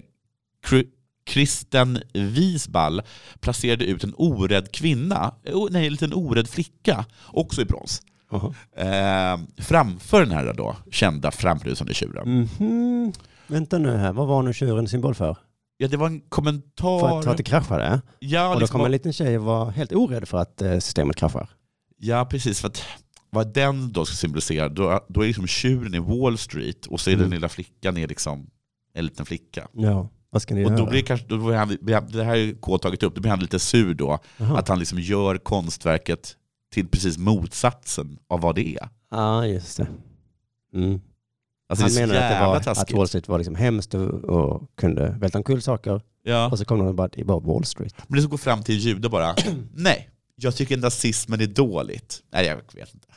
Kr- Kristen Wiesball placerade ut en orädd kvinna, oh, nej, en liten orädd flicka, också i brons. Jaha. Eh, framför den här då, kända framrusande tjuren. Mhm. Vänta nu här, vad var nu tjuren symbol för? Ja, det var en För att, kommentar. för att det kraschade? ja, Och då liksom- kom en liten tjej och var helt orädd för att eh, systemet kraschar. Ja, precis. För att vad den då ska symbolisera, då, då är liksom tjuren i Wall Street och så är den Mm. lilla flickan är liksom en liten flicka. Ja, vad ska ni Och göra? då blir kanske, då blir han, det här har ju K tagit upp, då blir han lite sur då. Jaha. Att han liksom gör konstverket till precis motsatsen av vad det är. Ja, just det. Mm. Alltså han det är så menade att, det jävla var, att taskigt. Wall Street var liksom hemskt och, och kunde välta omkull saker. ja. Och så kom de och bara, det är bara Wall Street. Men det som går fram till en jude bara, nej, jag tycker nazismen är dåligt. Nej, jag vet inte.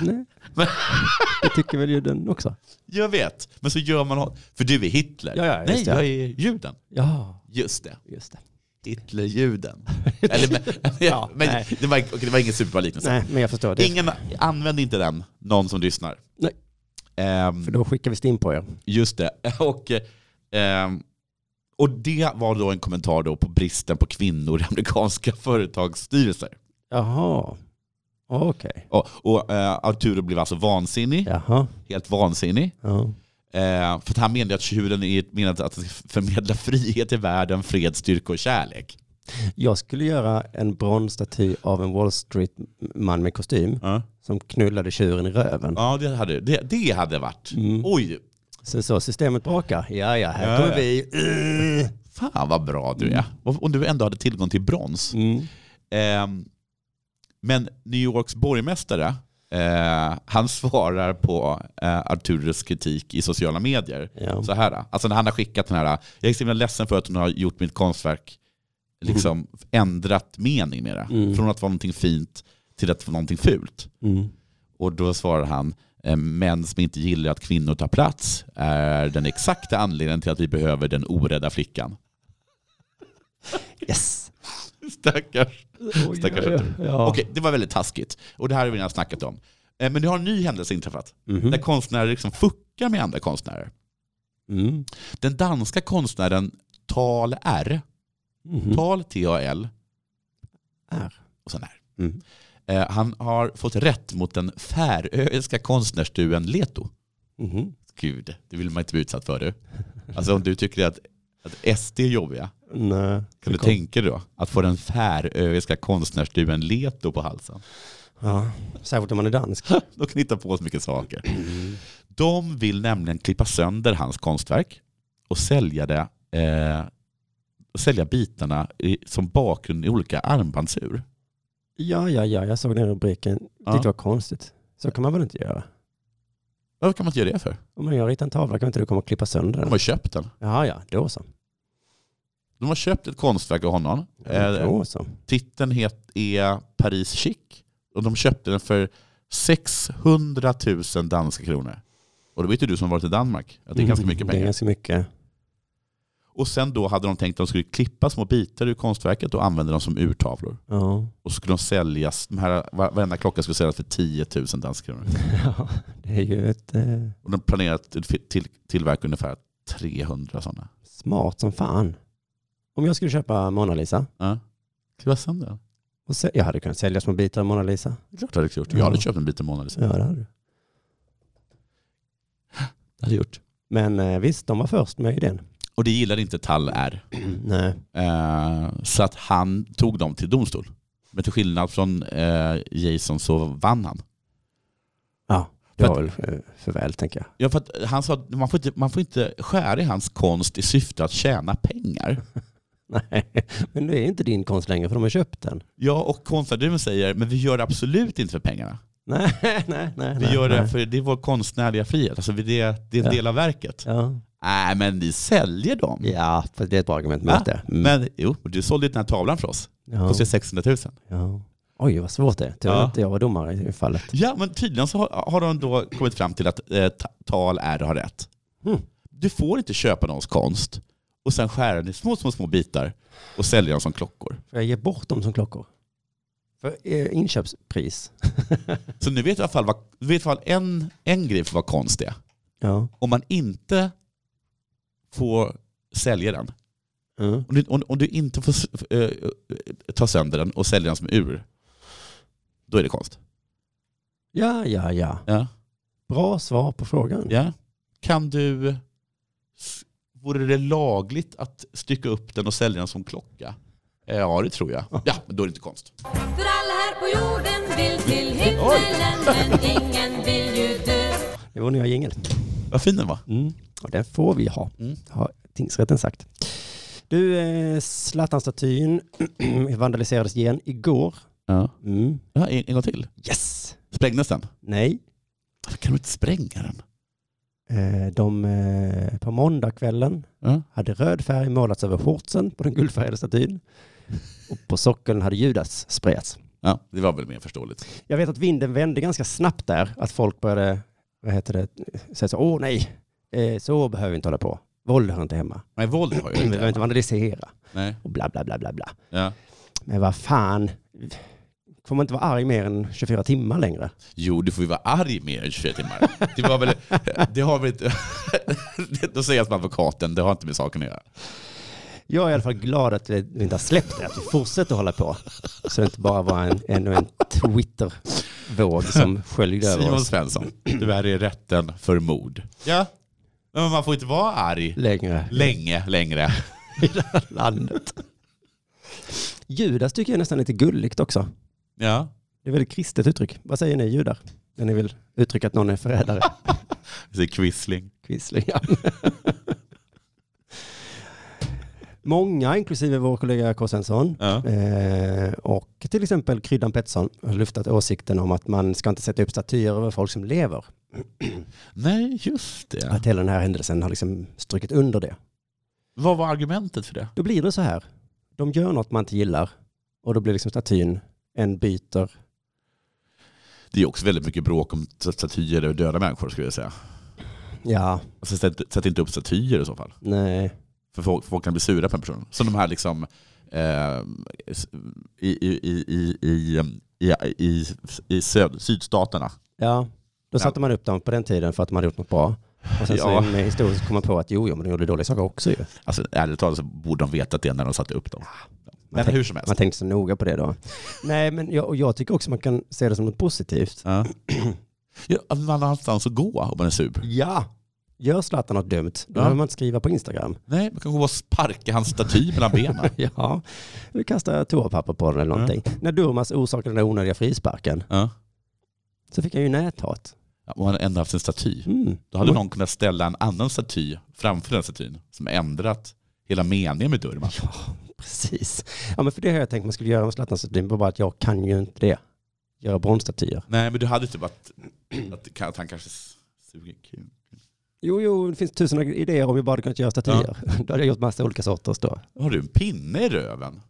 Nej. Men- Det tycker väl juden också? Jag vet, men så gör man, för du är Hitler. Ja, ja, just nej, det. jag är juden. Ja, Just det. just det. Hitlerjuden. Eller, men, Ja, men nej. det, var, okej, det var ingen superbra liknelse. Nej, men jag förstår. Det. Ingen, använd inte den, någon som lyssnar. Nej. Ehm, För då skickar vi stim på er. just det. Och, ehm, och det var då en kommentar då på bristen på kvinnor i amerikanska företagsstyrelser. Jaha. Okej. Och, och eh, Arturo blev alltså vansinnig, Jaha. helt vansinnig. Ja. Eh, för att han menade att tjuren är menat att förmedla frihet i världen, fred, styrka och kärlek. Jag skulle göra en bronsstaty av en Wall Street-man med kostym Ja, som knullade tjuren i röven. ja det, hade, det, det hade varit. Mm. Oj, Så, så systemet brakar. Ja, ja, här Ja, kommer ja. vi. Uh. Fan vad bra du är. Och och du ändå hade tillgång till brons. Mm. Ehm, men New Yorks borgmästare, eh, han svarar på eh, Arturus kritik i sociala medier. Ja. Så här, alltså när han har skickat den här, jag är så himla ledsen för att hon har gjort mitt konstverk, liksom ändrat mening med det. Mm. Från att vara någonting fint till att vara någonting fult. Mm. Och då svarar han, eh, män som inte gillar att kvinnor tar plats är den exakta anledningen till att vi behöver den orädda flickan. Yes. Stackars. Oj, Stackars oj, oj. Ja. Okej, det var väldigt taskigt. Och det här har vi redan snackat om. Eh, Men det har en ny händelse inträffat. Mhm. Där konstnärer liksom fuckar med andra konstnärer. Mm. Den danska konstnären Tal R, Mhm. Tal T-A-L R. och sen R. Mm. Eh, Han har fått rätt mot den färöiska konstnärsduen Leto. Mhm. Gud, det vill man inte bli utsatt för du. Alltså om du tycker att, att SD är jobbiga, Nej. kan du Det kom- tänka dig då att få den färöiska konstnärsduen Leto på halsen? Ja. Särskilt om man är dansk. Mm. De kan hitta på så mycket saker. De vill nämligen klippa sönder hans konstverk och sälja, det, eh, och sälja bitarna i, som bakgrund i olika armbandsur. Ja, ja, ja, jag såg den rubriken. Ja. Tyckte det var konstigt. Så kan man väl inte göra? Varför kan man inte göra det för? Om jag ritar en tavla kan inte du komma och klippa sönder De den? har köpt den. Ja, ja, då så. De har köpt ett konstverk av honom. Eh, Då så. titeln het, är Paris Chic och de köpte den för 600 000 danska kronor. Och då vet ju du som har varit i Danmark att Mm, det är ganska mycket Mm, Det är pengar. ganska mycket. Och sen då hade de tänkt att de skulle klippa små bitar ur konstverket och använda dem som urtavlor. Ja. Och så skulle de säljas, de här, var- varenda klocka skulle säljas för 10 000 danska kronor. ja, det är ju ett eh, Och de planerat att fi- till, tillverka ungefär 300 sådana. smart som fan. Om jag skulle köpa Mona Lisa, Ja. Klippa sönder den. och sä- jag hade kunnat sälja små bitar av Mona Lisa. Det är klart jag hade gjort. Jag hade Ja. köpt en bit i månaden. Ja, det hade du. Det hade gjort. Men eh, visst, de var först med idén. Och det gillade inte Tall R. Nej. Eh, så att han tog dem till domstol. Men till skillnad från eh, Jason så vann han. Ja, det var För väl eh, för väl, tänker jag. Ja, för att han sa att man får, inte, man får inte skära i hans konst i syfte att tjäna pengar. Nej, men det är inte din konst längre för de har köpt den. Ja, och konstnären säger, men vi gör det absolut inte för pengarna. Nej, nej, nej. Vi nej, gör det nej. för det är vår konstnärliga frihet. Alltså vi- det, det är en Ja. del av verket. Ja, Nej, men vi säljer dem. ja för det är ett bra argument Va? mot det. Mm. Men jo, du sålde ju den här tavlan för oss. ja, Kostade 600 000. ja. Oj, vad svårt det är. Tur Ja. att jag var domare i fallet. Ja, men tydligen så har, har de då kommit fram till att eh, ta- tal är har rätt. Mm. Du får inte köpa någons konst och sen skära den i små, små, små bitar och sälja dem som klockor. Får jag ge bort dem som klockor? För eh, inköpspris? Så nu vet du i alla fall, vad, du vet i alla fall en, en grej för vad konst är. Ja. Om man inte får sälja den, Mm. om du, om, om du inte får s- eh, eh, ta sönder den och sälja den som ur, då är det konst. Ja, ja, ja. Ja. Bra svar på frågan. Ja. Kan du... s- Vore det lagligt att stycka upp den och sälja den som klocka? Eh, Ja, det tror jag. Ja, men då är det inte konst. För alla här på jorden vill till himmelen men ingen vill ju dö. Det var nya jingel. Vad fin den var. Mm. Och den får vi ha, Mm. har tingsrätten sagt. Du, eh, Zlatan-statyn vandaliserades igen igår. Ja. Mm. en, en gång till. Yes! Sprängdes den? Nej. Varför kan de inte spränga den? Eh, De, eh, på måndagskvällen Ja. hade röd färg målats över shortsen på den guldfärgade statyn. Och på sockeln hade Judas sprejats. ja, det var väl mer förståeligt. Jag vet att vinden vände ganska snabbt där. Att folk började, vad heter det, säga så, åh nej, eh, så behöver vi inte hålla på. Våld hör inte hemma. Nej, våld har Vi jag behöver inte. inte vandalisera. Nej. Och bla bla bla bla bla. Ja. Men vad fan, får man inte vara arg mer än 24 timmar längre? Jo, du får ju vara arg mer än 24 timmar. Det, var väl, det har väl inte... Då säger jag som advokaten, det har inte med saken att göra. Jag är i alla fall glad att vi inte har släppt det, att vi fortsätter hålla på. Så det inte bara var en, ännu en Twitter-våg som sköljde över Simon oss Svensson, du är i rätten för mord. Ja, men man får inte vara arg längre länge längre. i det här landet. Judas tycker jag är nästan lite gulligt också. Ja. Det är väldigt kristet uttryck. Vad säger ni judar? När ni vill uttrycka att någon är förrädare? Det är Quisling. Quislingar. Många, inklusive vår kollega K. Svensson, Ja. Eh, och till exempel Kryddan Pettersson har luftat åsikten om att man ska inte sätta upp statyer över folk som lever. Nej, just det. Att hela den här händelsen har liksom strukit under det. Vad var argumentet för det? Då blir det så här. De gör något man inte gillar och då blir liksom statyn en byter. Det är också väldigt mycket bråk om statyer över döda människor skulle jag säga. Ja, Alltså, sätt, sätt inte upp statyer i så fall. nej. För folk, folk kan bli sura på en person. Som de här liksom, eh, s- i, i, i, i, i, em, i, i, i söd, sydstaterna. Ja, då satte man upp dem på den tiden för att man hade gjort något bra. Och sen Ja. så med historiskt kom man på att jo, jo, men de gjorde dåliga saker också ju. Alltså, ärligt talat så borde de vetat det när de satte upp dem. Men tänk- hur som helst. Man tänkte så noga på det då. Nej, men jag, och jag tycker också man kan se det som något positivt. Ja. Ja, att man har någonstans att gå om man är sur. Ja! Gör Zlatan något dumt, då Ja. behöver man inte skriva på Instagram. Nej, man kan gå och sparka hans staty mellan benen. Ja, du kastar toapapper på den eller någonting. När Durmaz orsakade den där onödiga frisparken Ja. så fick han ju näthat. Ja, Om han ändå haft en staty, Mm. då hade någon kunnat ställa en annan staty framför den statyn som ändrat hela meningen med Durman. Precis. Ja, men för det har jag tänkt man skulle göra med Zlatan-statyn, bara att jag kan ju inte det. Göra bronsstatyer. Nej, men du hade typ att, att, att han kanske suger kuk. Jo, jo, det finns tusen idéer om vi bara hade kunnat göra statyer. Då hade jag gjort massa olika sorters då. Har du en pinne i röven?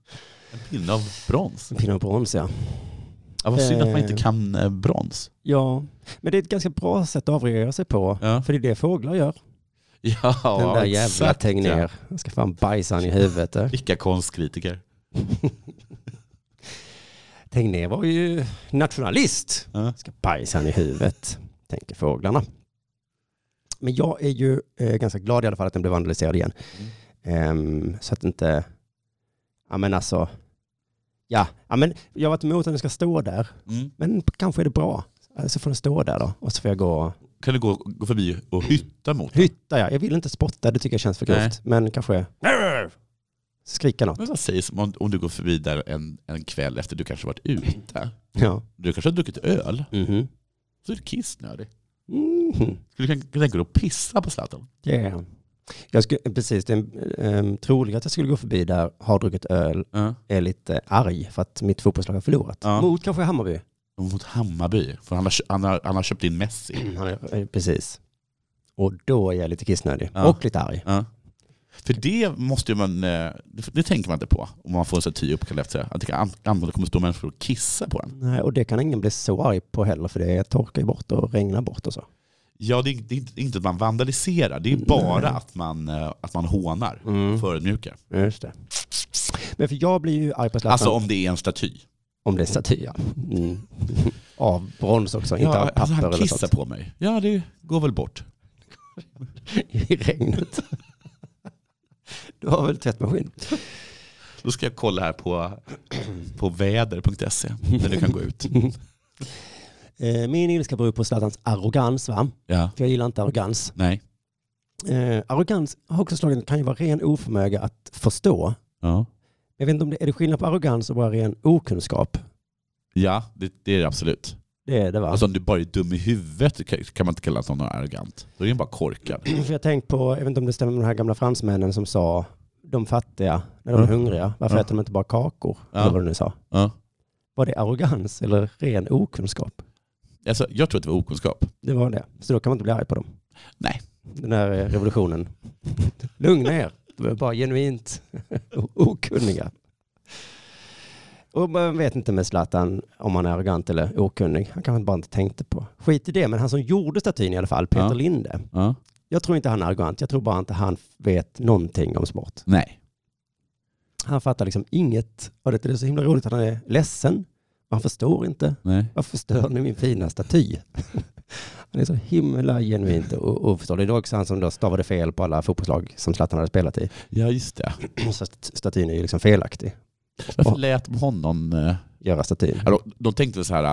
En pinne av brons? Pinne och brons, ja. Ja, vad synd att man Eh. inte kan eh, brons. Ja, men det är ett ganska bra sätt att avreagera sig på. Ja. För det är det fåglar gör. Ja, Den där jävla exakt, ja. Tegnér. Jag ska fan bajsa han i huvudet. eh. där. Vilka konstkritiker. Tegnér var ju nationalist. Ja. Ska bajsa han i huvudet, tänker fåglarna. Men jag är ju eh, ganska glad i alla fall att den blev vandaliserad igen. Ehm, så att inte... Ja, men alltså... Ja, ja men jag har varit emot att den ska stå där. Mm. Men kanske är det bra. Alltså, Så får den stå där då. Och så får jag gå och Kan du gå, gå förbi och hytta mot den? hytta. Ja. Jag vill inte spotta, det tycker jag känns för grovt. Men kanske skrika något. Men vad sägs om, om du går förbi där en, en kväll efter du kanske varit ute? Ja. Du kanske har druckit öl? Mhm. Så är du kissnödig. Mhm. Skulle du kunna kunna tänka dig att pissa på Zlatan? Yeah. Jag skulle, precis, det är um, troligt att jag skulle gå förbi där, har druckit öl, Ja. är lite arg för att mitt fotbollslag har förlorat. Ja. Mot kanske Hammarby. Och Mot Hammarby, för han har, kö- han, har, han har köpt in Messi. Han är, eh, precis. Och då är jag lite kissnödig. Ja. Och lite arg. Ja. För det måste ju man, eh, det, det tänker man inte på om man får en staty uppkallad efter sig. Att det kan, antagligen kommer stå människor och kissa på den. Nej, och det kan ingen bli så arg på heller för det torkar ju bort och regnar bort och så. Ja, det är, det är inte- det är inte att man vandaliserar, det är bara Mm. att man, eh, att man hånar, förödmjukar. Just det. Men för jag blir ju arg på Zlatan Alltså om det är en staty. om det är staty. ja. Mm. Av brons också, inte av Ja, papper alltså han eller kissar sånt. på mig. Ja, det går väl bort. I regnet. Du har väl tvättmaskin? Då ska jag kolla här på, på väder.se E, där du kan gå ut. Eh, Min ilska beror på Zlatans arrogans, va? Ja, för jag gillar inte arrogans. nej. Eh, arrogans har också slagit, kan ju vara ren oförmåga att förstå. Ja, Jag vet inte om det är det skillnad på arrogans och bara ren okunskap. ja det, det är det absolut. Det är det va? Alltså om du bara är dum i huvudet kan- kan man inte kalla någon arrogant. Då är den bara korkad. För jag tänkt på, jag vet inte om det stämmer med de här gamla fransmännen som sa de fattiga, när de är Mm. hungriga, varför Ja. äter de inte bara kakor? Ja. Eller vad du nu sa. Ja. Var det arrogans eller ren okunskap? Alltså, jag tror att det var okunskap. Det var det. Så då kan man inte bli arg på dem. Nej. Den här eh, revolutionen. Lugna er. De är bara genuint o- okunniga. Och man vet inte med Zlatan om han är arrogant eller okunnig. Han kanske bara inte tänkte på. Skit i det, men han som gjorde statyn i alla fall, Peter Ja. Linde. Ja. Jag tror inte han är arrogant. Jag tror bara inte han vet någonting om sport. Nej. Han fattar liksom inget. Och det är så himla roligt att han är ledsen. Och han förstår inte. nej. Varför stör ni min fina staty? Han är så himla genuint och oförståelig. Det var också han som då stavade fel på alla fotbollslag som Zlatan hade spelat i. Ja, just det. Så st- statyn är ju liksom felaktig. Varför lät de honom... eh, Göra statyn. alltså, De tänkte väl så här, eh,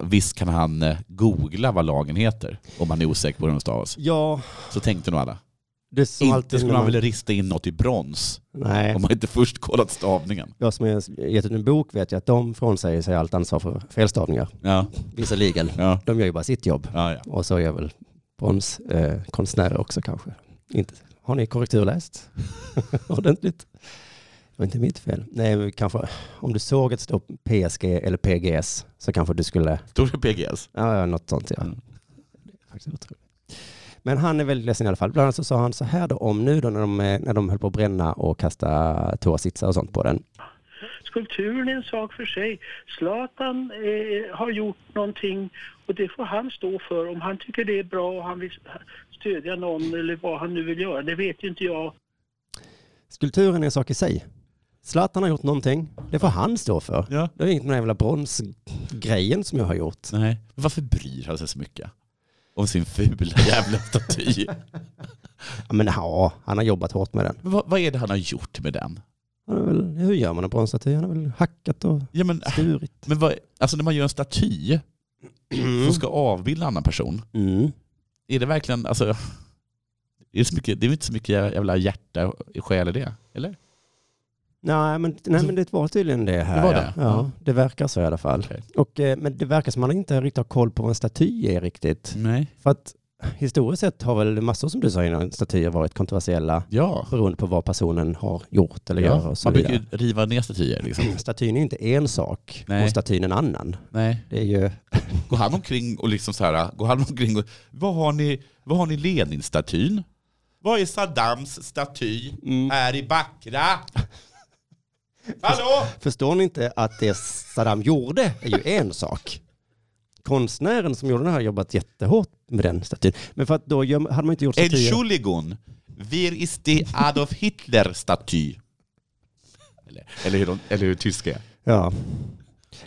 eh, visst kan han eh, googla vad lagen heter om han är osäker på hur de stavas. Ja, Så tänkte nog alla. det är som Inte alltid skulle när han man- vilja rista in något i brons Nej, om man inte först kollat stavningen. jag som har gett ut en bok vet jag att de frånsäger sig allt ansvar för felstavningar. Ja, Visserligen, ja, de gör ju bara sitt jobb. ja. ja. Och så gör väl bronskonstnärer eh, konstnärer också kanske. Inte. Har ni korrekturläst ordentligt? Det var inte mitt fel. Nej, men kanske om du såg att det stod PSG eller PGS så kanske du skulle, Då är det PGS. ja, ja, något sånt ja. Mm. Det är faktiskt otroligt. Men han är väldigt ledsen i alla fall. Bland annat så sa han så här då om nu då när de, eh, när de höll på att bränna och kasta toasitsar och sånt på den. Skulpturen är en sak för sig. Zlatan eh, har gjort någonting och det får han stå för. Om han tycker det är bra och han vill stödja någon eller vad han nu vill göra, det vet ju inte jag. Skulpturen är en sak i sig. Zlatan har gjort någonting. Det får han stå för. Ja. Det är inget med den här jävla bronsgrejen som jag har gjort. Nej. Men varför bryr han sig så mycket? Om sin fula jävla staty. Ja, men ja, han har jobbat hårt med den. Men vad, vad är det han har gjort med den? Han har väl, hur gör man en bronsstaty? Han har väl hackat och Ja, men, skurit. men vad, alltså när man gör en staty som ska avbilda en annan person. Mm. Är det verkligen, alltså, är det, så mycket, det är väl inte så mycket jävla hjärta i själ i det? Eller? Nej, men, nej, men det var tydligen det här. Det var ja. det? Ja, det verkar så i alla fall. Okej. Och, eh, men det verkar som att man inte riktigt har koll på vad en staty är riktigt. Nej. För att historiskt sett har väl massor som du sa innan statyer varit kontroversiella Ja. beroende på vad personen har gjort eller gör ja. och så Man brukar vidare. ju riva ner statyer. Liksom. Statyn är ju inte en sak Nej. och statyn en annan. Nej. Det är ju... Går han omkring och liksom så här, går han omkring och, vad har ni, vad har ni Lenin-statyn? Vad är Saddams staty här i Bakra? Hallå? Förstår ni inte att det Saddam gjorde är ju en sak? Konstnären som gjorde den här har jobbat jättehårt med den statyn. Men för att då gör- hade man inte gjort statyer... Entschuldigung, wer ist die Adolf Hitler-staty? Eller, eller, hur de, eller hur tyska är. Ja.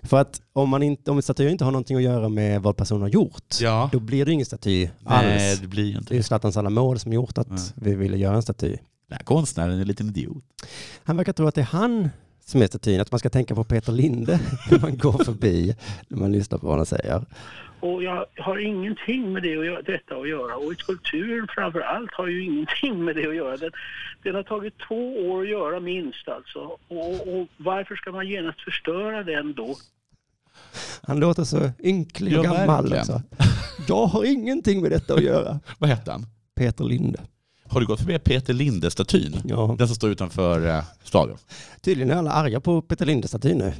För att om, man inte, om en staty inte har någonting att göra med vad personen har gjort, Ja. då blir det ingen staty Nej, alls. det Mm. blir ju Det inte. är ju Zlatan Salamor som gjort att vi ville göra en staty. Den här konstnären är en liten idiot. Han verkar tro att det är han som är statyn, att man ska tänka på Peter Linde när man går förbi, när man lyssnar på vad han säger. Och jag har ingenting med det att göra, detta att göra. Och skulpturen framför allt har ju ingenting med det att göra. Den, den har tagit två år att göra minst alltså. Och, och varför ska man genast förstöra den då? Han låter så ynklig och Ja, gammal. verkligen. Också. Jag har ingenting med detta att göra. Vad hette han? Peter Linde. Har du gått förbi Peter Linde-statyn? Ja. Den som står utanför eh, stadion. Tydligen är alla arga på Peter Linde-statyn nu.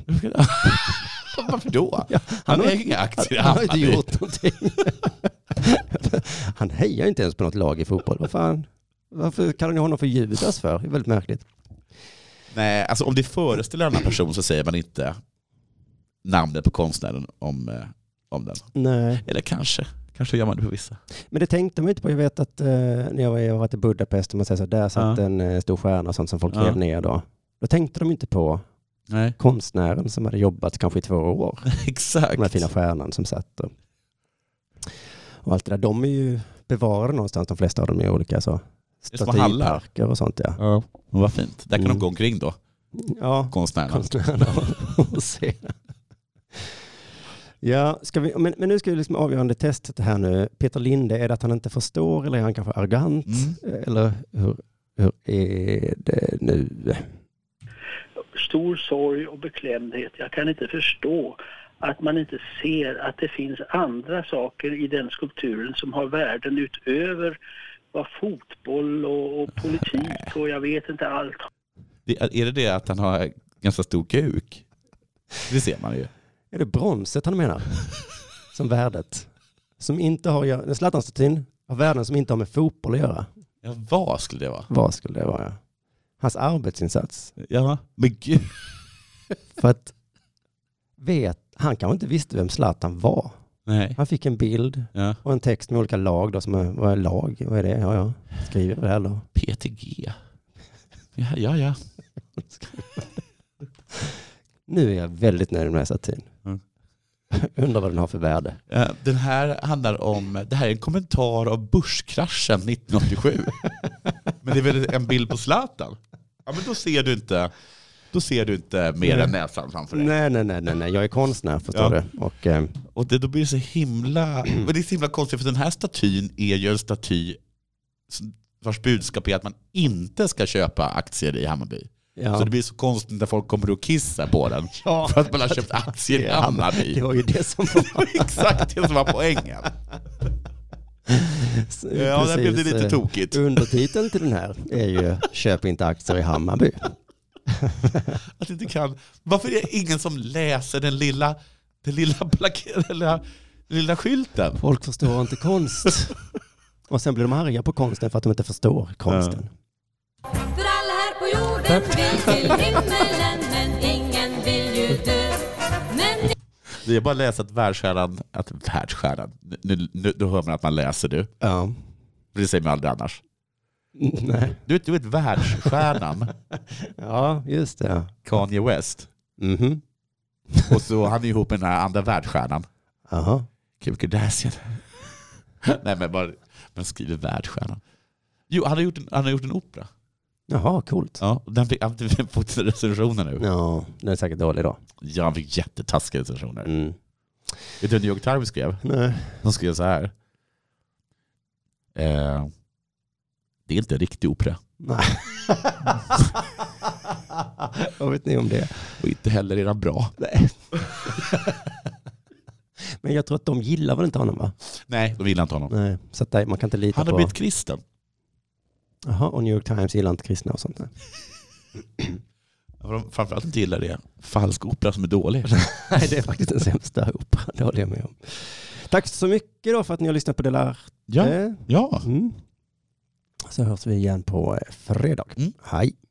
Varför då? han, har- äger inga aktier. Han har inte gjort någonting. Han hejar inte ens på något lag i fotboll. Vad fan? Varför kallar ni honom för Judas för? Det är väldigt märkligt. Nej, alltså om det föreställer en annan person så säger man inte namnet på konstnären om, eh, om den. Nej. Eller kanske. Kanske gör man det på vissa. Men det tänkte man ju inte på. Jag vet att eh, när jag var- jag har varit i Budapest och man säger så här, där satt Ja. en eh, stor stjärna och sånt som folk Ja. rev ner då. Då tänkte de inte på Nej, konstnären som hade jobbat kanske i två år. exakt. Den här fina stjärnan som satt och, och allt det där. De är ju bevarade någonstans, de flesta av dem i olika så. är små hallar. Statyparker och sånt ja. Ja, men vad fint. Där kan Mm. de gå omkring då, Ja, konstnärerna. konstnärerna och se. Ja, ska vi, men, men nu ska vi liksom avgörande testet här nu. Peter Linde, är det att han inte förstår eller är han kanske arrogant? Eller hur, hur är det nu? stor sorg och beklämdhet. Jag kan inte förstå att man inte ser att det finns andra saker i den skulpturen som har värden utöver vad fotboll och, och politik och jag vet inte allt Det, är det det att han har ganska stor kuk? Det ser man ju. Är det bronset han menar? Som värdet? Som inte har att göra, Zlatan-statyn har värden som inte har med fotboll att göra. Ja, vad skulle det vara? Vad skulle det vara? Hans arbetsinsats. Ja, men gud. För att vet, han kanske inte visste vem Zlatan var. Nej. Han fick en bild Ja. och en text med olika lag då, som är, vad är lag? Vad är det? Ja, ja. Skriver det här då. PTG. Ja, ja. ja. Nu är jag väldigt nöjd med den här satin. Mm. Undrar vad den har för värde. Eh, Den här handlar om, det här är en kommentar av börskraschen 1987. men det är väl en bild på Zlatan? Ja men då ser du inte, då ser du inte mer än näsan framför dig. Nej, nej, nej, nej, nej. Jag är konstnär, förstår Ja. du. Och, eh, Och det, då blir det så himla, men det är så himla konstigt för den här statyn är ju en staty som- vars budskap är att man inte ska köpa aktier i Hammarby. ja. Så det blir så konstigt när folk kommer och kissar på den. Ja. För att man har köpt aktier i det Hammarby. var ju det som var... Exakt det som var poängen. Ja, där blev det Precis, lite eh, tokigt. Undertiteln till den här är ju Köp inte aktier i Hammarby. Att inte kan. Varför är det ingen som läser den lilla, den lilla, plak- den lilla, den lilla skylten? Folk förstår inte konst. Och sen blir de arga på konsten för att de inte förstår konsten. För alla här på jorden vill till himmelen men ingen vill ju dö. Men Vi har bara läst att världsstjärnan, att världsstjärnan, nu, nu, nu hör man att man läser nu, Ja. för det säger man aldrig annars. Nej. Du vet, du vet världsstjärnan Ja, just det. Kanye West. Mhm. Och så han är ihop med den här andra världsstjärnan. Jaha. Kim Kardashian. Nej men bara, men skriver världsstjärnan. Jo, han har gjort en, han har gjort en opera. Jaha, coolt. Ja, och den fick, han fick fått recensioner nu. Ja, den är säkert dålig då. Ja, han fick jättetaskiga recensioner. Mm. Vet du vad New York Times skrev? Nej. De skrev så här. Eh, det är inte en riktig opera. Nej. Vad vet ni om det? Och inte heller är den bra. Nej. Men jag tror att de gillar väl inte honom va? Nej, de gillar inte honom. Nej, så att där- man kan inte lita Han har på... blivit kristen. Jaha, och New York Times gillar inte kristna och sånt. nej. Vad de framförallt inte gillar det är falsk opera som är dålig. Nej, det är faktiskt den sämsta operan, det håller jag med om. Tack så mycket då för att ni har lyssnat på Delarte. Ja. ja. Mm. Så hörs vi igen på eh, fredag. Mm. Hej.